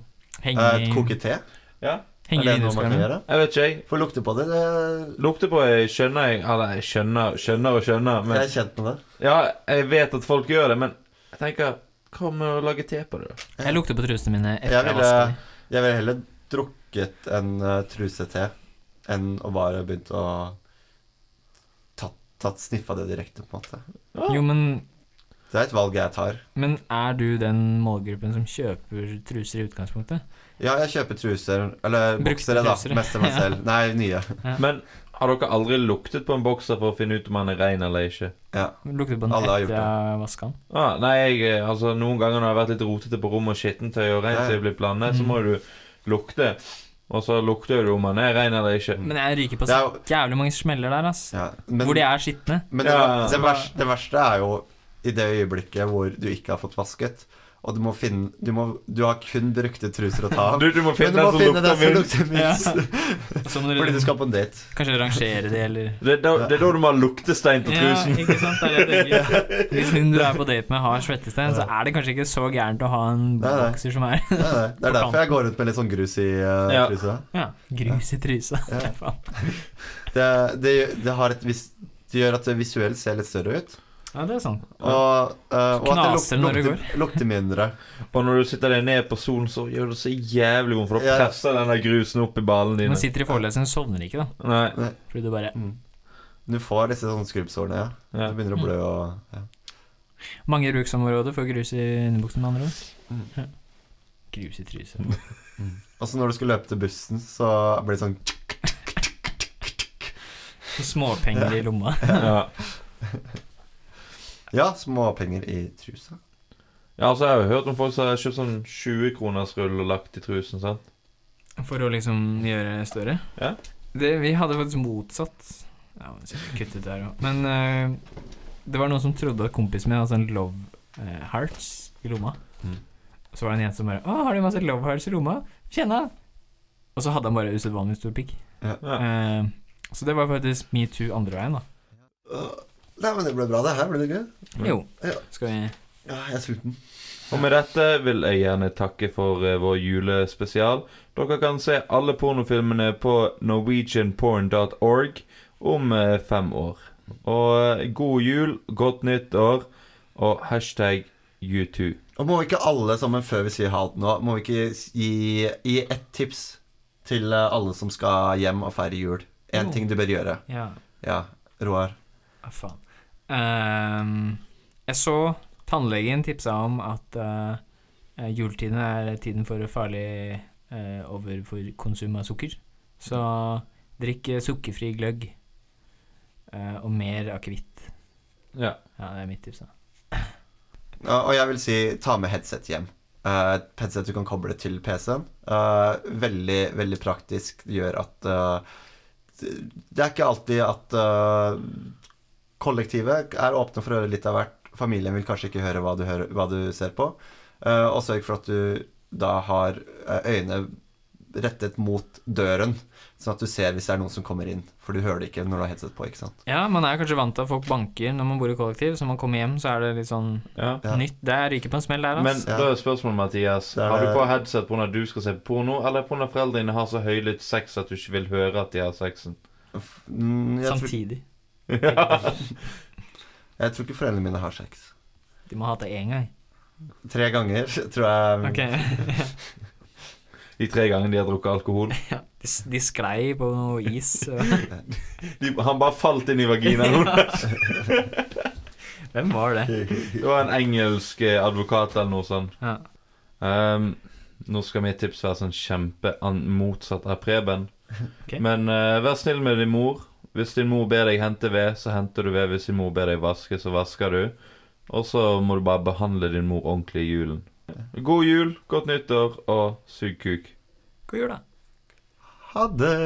[SPEAKER 3] Henge,
[SPEAKER 2] Eh, koke te?
[SPEAKER 4] ja,
[SPEAKER 2] Er
[SPEAKER 3] henge i
[SPEAKER 2] det noe man kan
[SPEAKER 3] vinduskarmen.
[SPEAKER 2] gjøre?
[SPEAKER 4] jeg vet ikke, jeg.
[SPEAKER 2] Få lukte på det. det
[SPEAKER 4] Lukte på jeg skjønner jeg Eller jeg skjønner, skjønner og skjønner.
[SPEAKER 2] jeg
[SPEAKER 4] Men,
[SPEAKER 2] er kjent med det.
[SPEAKER 4] ja, jeg vet at folk gjør det, men jeg tenker Hva med å lage te på det, da?
[SPEAKER 3] Jeg lukter på trusene mine etter
[SPEAKER 2] Jeg
[SPEAKER 3] jeg,
[SPEAKER 2] ville,
[SPEAKER 3] vasker dem.
[SPEAKER 2] jeg ville heller drukket en eh, truse te enn å bare begynt å tatt, tatt sniffa det direkte, på en måte.
[SPEAKER 4] Ja.
[SPEAKER 3] Jo, men,
[SPEAKER 2] Det er et valg jeg tar.
[SPEAKER 3] men er du den målgruppen som kjøper truser i utgangspunktet?
[SPEAKER 2] Ja, jeg kjøper truser, eller
[SPEAKER 3] Brukte
[SPEAKER 2] boksere, da.
[SPEAKER 3] truser, ja.
[SPEAKER 2] Mest til meg selv. Nei, nye.
[SPEAKER 4] Men har dere aldri luktet på en bokser for å finne ut om han er rein eller ikke?
[SPEAKER 2] Ja.
[SPEAKER 3] Lukter på den
[SPEAKER 2] Alle har
[SPEAKER 3] etter
[SPEAKER 2] gjort det. Mm.
[SPEAKER 3] jeg vaska den?
[SPEAKER 4] Ah, nei, jeg, eh, altså Noen ganger når jeg har vært litt rotete på rommet og skittentøy og
[SPEAKER 2] Ja, ja.
[SPEAKER 4] reintøy blir blandet, så må du lukte. Og så lukter du om han er rein eller ikke.
[SPEAKER 3] Men jeg ryker på
[SPEAKER 2] Det
[SPEAKER 3] så
[SPEAKER 2] er jo-
[SPEAKER 3] jævlig mange smeller der, ass.
[SPEAKER 2] ja. Men,
[SPEAKER 3] Hvor de er skitne.
[SPEAKER 2] men det,
[SPEAKER 4] Ja.
[SPEAKER 2] det, verste, det verste er jo i det øyeblikket hvor du ikke har fått vasket, og du må finne Du, må, du har kun brukte truser å ta av.
[SPEAKER 4] Du, du må finne
[SPEAKER 2] men du
[SPEAKER 4] den
[SPEAKER 2] må
[SPEAKER 4] som lukter
[SPEAKER 2] finne den som
[SPEAKER 4] minst.
[SPEAKER 2] lukter minst.
[SPEAKER 3] Og så må
[SPEAKER 2] Fordi
[SPEAKER 3] du
[SPEAKER 2] du skal på en date.
[SPEAKER 3] kanskje rangere de, eller
[SPEAKER 4] Det, er da- det er da du må ha luktestein til
[SPEAKER 3] Ja,
[SPEAKER 4] trusen.
[SPEAKER 3] ikke sant, det er det jeg tenker. Hvis hun du er på date med har svettestein, så er det kanskje ikke så gærent å ha en
[SPEAKER 2] Nei, nei.
[SPEAKER 3] bokser som er
[SPEAKER 2] Nei, nei. Det
[SPEAKER 3] På
[SPEAKER 2] er derfor jeg går rundt med litt sånn grus i eh,
[SPEAKER 4] Ja.
[SPEAKER 2] trusa.
[SPEAKER 3] ja, grus i trysa.
[SPEAKER 2] Ja.
[SPEAKER 3] Faen.
[SPEAKER 2] Det, det, det, har et vis, det gjør at det visuelt ser litt større ut.
[SPEAKER 3] Ja, det er sånn.
[SPEAKER 2] Og, eh, og at
[SPEAKER 3] Knaser
[SPEAKER 2] det lukter,
[SPEAKER 3] når det
[SPEAKER 2] lukter, lukter mindre.
[SPEAKER 4] Og når du sitter deg ned på solen, så gjør det så jævlig vondt, for da
[SPEAKER 2] Ja.
[SPEAKER 4] presser den der grusen opp i ballene dine.
[SPEAKER 3] Man sitter i forelesningen og sovner ikke, da.
[SPEAKER 4] Nei,
[SPEAKER 3] Fordi du bare
[SPEAKER 2] Du får disse sånne skrubbsårene, ja.
[SPEAKER 4] ja.
[SPEAKER 2] Du begynner å blø og ja.
[SPEAKER 3] Mange bruksområder for grus i underbuksen, med andre ord. Ja. Mm. Grus i trysa.
[SPEAKER 2] Og så når du skal løpe til bussen, så blir det sånn
[SPEAKER 3] Og Småpenger i lomma.
[SPEAKER 4] ja.
[SPEAKER 2] Ja, småpenger i trusa.
[SPEAKER 4] Ja, altså, jeg har jo hørt om folk som har kjøpt sånn 20-kronersrull og lagt i trusen, sant?
[SPEAKER 3] For å liksom gjøre det større?
[SPEAKER 4] Ja.
[SPEAKER 3] Det, vi hadde faktisk motsatt. Ja, men sikkert kuttet der også. Men eh, det var noen som trodde at kompisen min hadde sånn love eh, hearts i lomma.
[SPEAKER 4] Mm.
[SPEAKER 2] Mhm.
[SPEAKER 3] Så var det en jente som bare 'Å, har du masse love hearts i lomma? Kjenn da!» Og så hadde han bare usedvanlig stor pikk.
[SPEAKER 4] Ja.
[SPEAKER 3] Eh, så det var faktisk metoo andre veien, da.
[SPEAKER 2] Øh, Nei, men det ble bra, det her. Ble det gøy?
[SPEAKER 4] Mhm.
[SPEAKER 3] Jo.
[SPEAKER 2] Ja.
[SPEAKER 3] Skal vi
[SPEAKER 2] Ja, jeg er sulten.
[SPEAKER 4] Og med dette vil jeg gjerne takke for eh, vår julespesial. Dere kan se alle pornofilmene på norwegianporn.org om eh, fem år. Og eh, god jul, godt nytt år, og hashtag U2.
[SPEAKER 2] Og må ikke alle sammen, før vi sier ha det nå, må vi ikke gi, gi ett tips til eh, alle som skal hjem og feire jul?
[SPEAKER 3] Jo.
[SPEAKER 2] Én ting du bør gjøre.
[SPEAKER 3] Ja.
[SPEAKER 2] Ja, Roar.
[SPEAKER 3] Ah, faen. Ehm, jeg så tannlegen tipsa om at eh, Eh, juletiden er tiden for farlig eh, over for konsum av sukker. Så drikk eh, sukkerfri gløgg eh, og mer akevitt.
[SPEAKER 4] Ja.
[SPEAKER 3] Ja, det er mitt tips. da.
[SPEAKER 2] Ja, og jeg vil si ta med headset hjem. Eh, Et headset du kan koble til PC-en. Eh, veldig, veldig praktisk. Det gjør at eh, Det er ikke alltid at eh, kollektivet er åpne for å høre litt av hvert. Familien vil kanskje ikke høre hva du, hører, hva du ser på. Eh, og sørg for at du da har eh, øyne rettet mot døren, sånn at du ser hvis det er noen som kommer inn. For du hører det ikke når du har headset på, ikke sant.
[SPEAKER 3] Ja, man er kanskje vant til at folk banker når man bor i kollektiv, så når man kommer hjem, så er det litt sånn
[SPEAKER 4] ja.
[SPEAKER 2] Ja.
[SPEAKER 3] nytt. Det er ryker på en smell der,
[SPEAKER 4] Men
[SPEAKER 3] altså.
[SPEAKER 2] Ja.
[SPEAKER 4] da er spørsmålet, Mathias.
[SPEAKER 2] Det er
[SPEAKER 4] Har du
[SPEAKER 2] det-
[SPEAKER 4] på headset pga. du skal se på porno, eller pga. foreldrene dine har så høylytt sex at du ikke vil høre at de har sexen?
[SPEAKER 2] F- mm, Jeg tror,
[SPEAKER 3] Samtidig.
[SPEAKER 2] jeg tror ikke foreldrene mine har sex.
[SPEAKER 3] De må ha hatt det én gang.
[SPEAKER 2] Tre ganger, tror jeg.
[SPEAKER 3] Ok.
[SPEAKER 4] De tre gangene de har drukket alkohol.
[SPEAKER 3] ja, de, s- de sklei på noe is. så-
[SPEAKER 4] De, han bare falt inn i vaginaen.
[SPEAKER 3] Hvem var det?
[SPEAKER 4] Det var en engelsk eh, advokat eller noe sånt.
[SPEAKER 3] Ja.
[SPEAKER 4] Ehm, nå skal mitt tips være sånn kjempemotsatt av Preben.
[SPEAKER 3] Ok.
[SPEAKER 4] Men eh, vær snill med din mor. Hvis din mor ber deg hente ved, så henter du ved. Hvis din mor ber deg vaske, så vasker du. Og så må du bare behandle din mor ordentlig i julen. God jul, godt nyttår, og sug kuk.
[SPEAKER 3] God jul, da.
[SPEAKER 2] Ha det.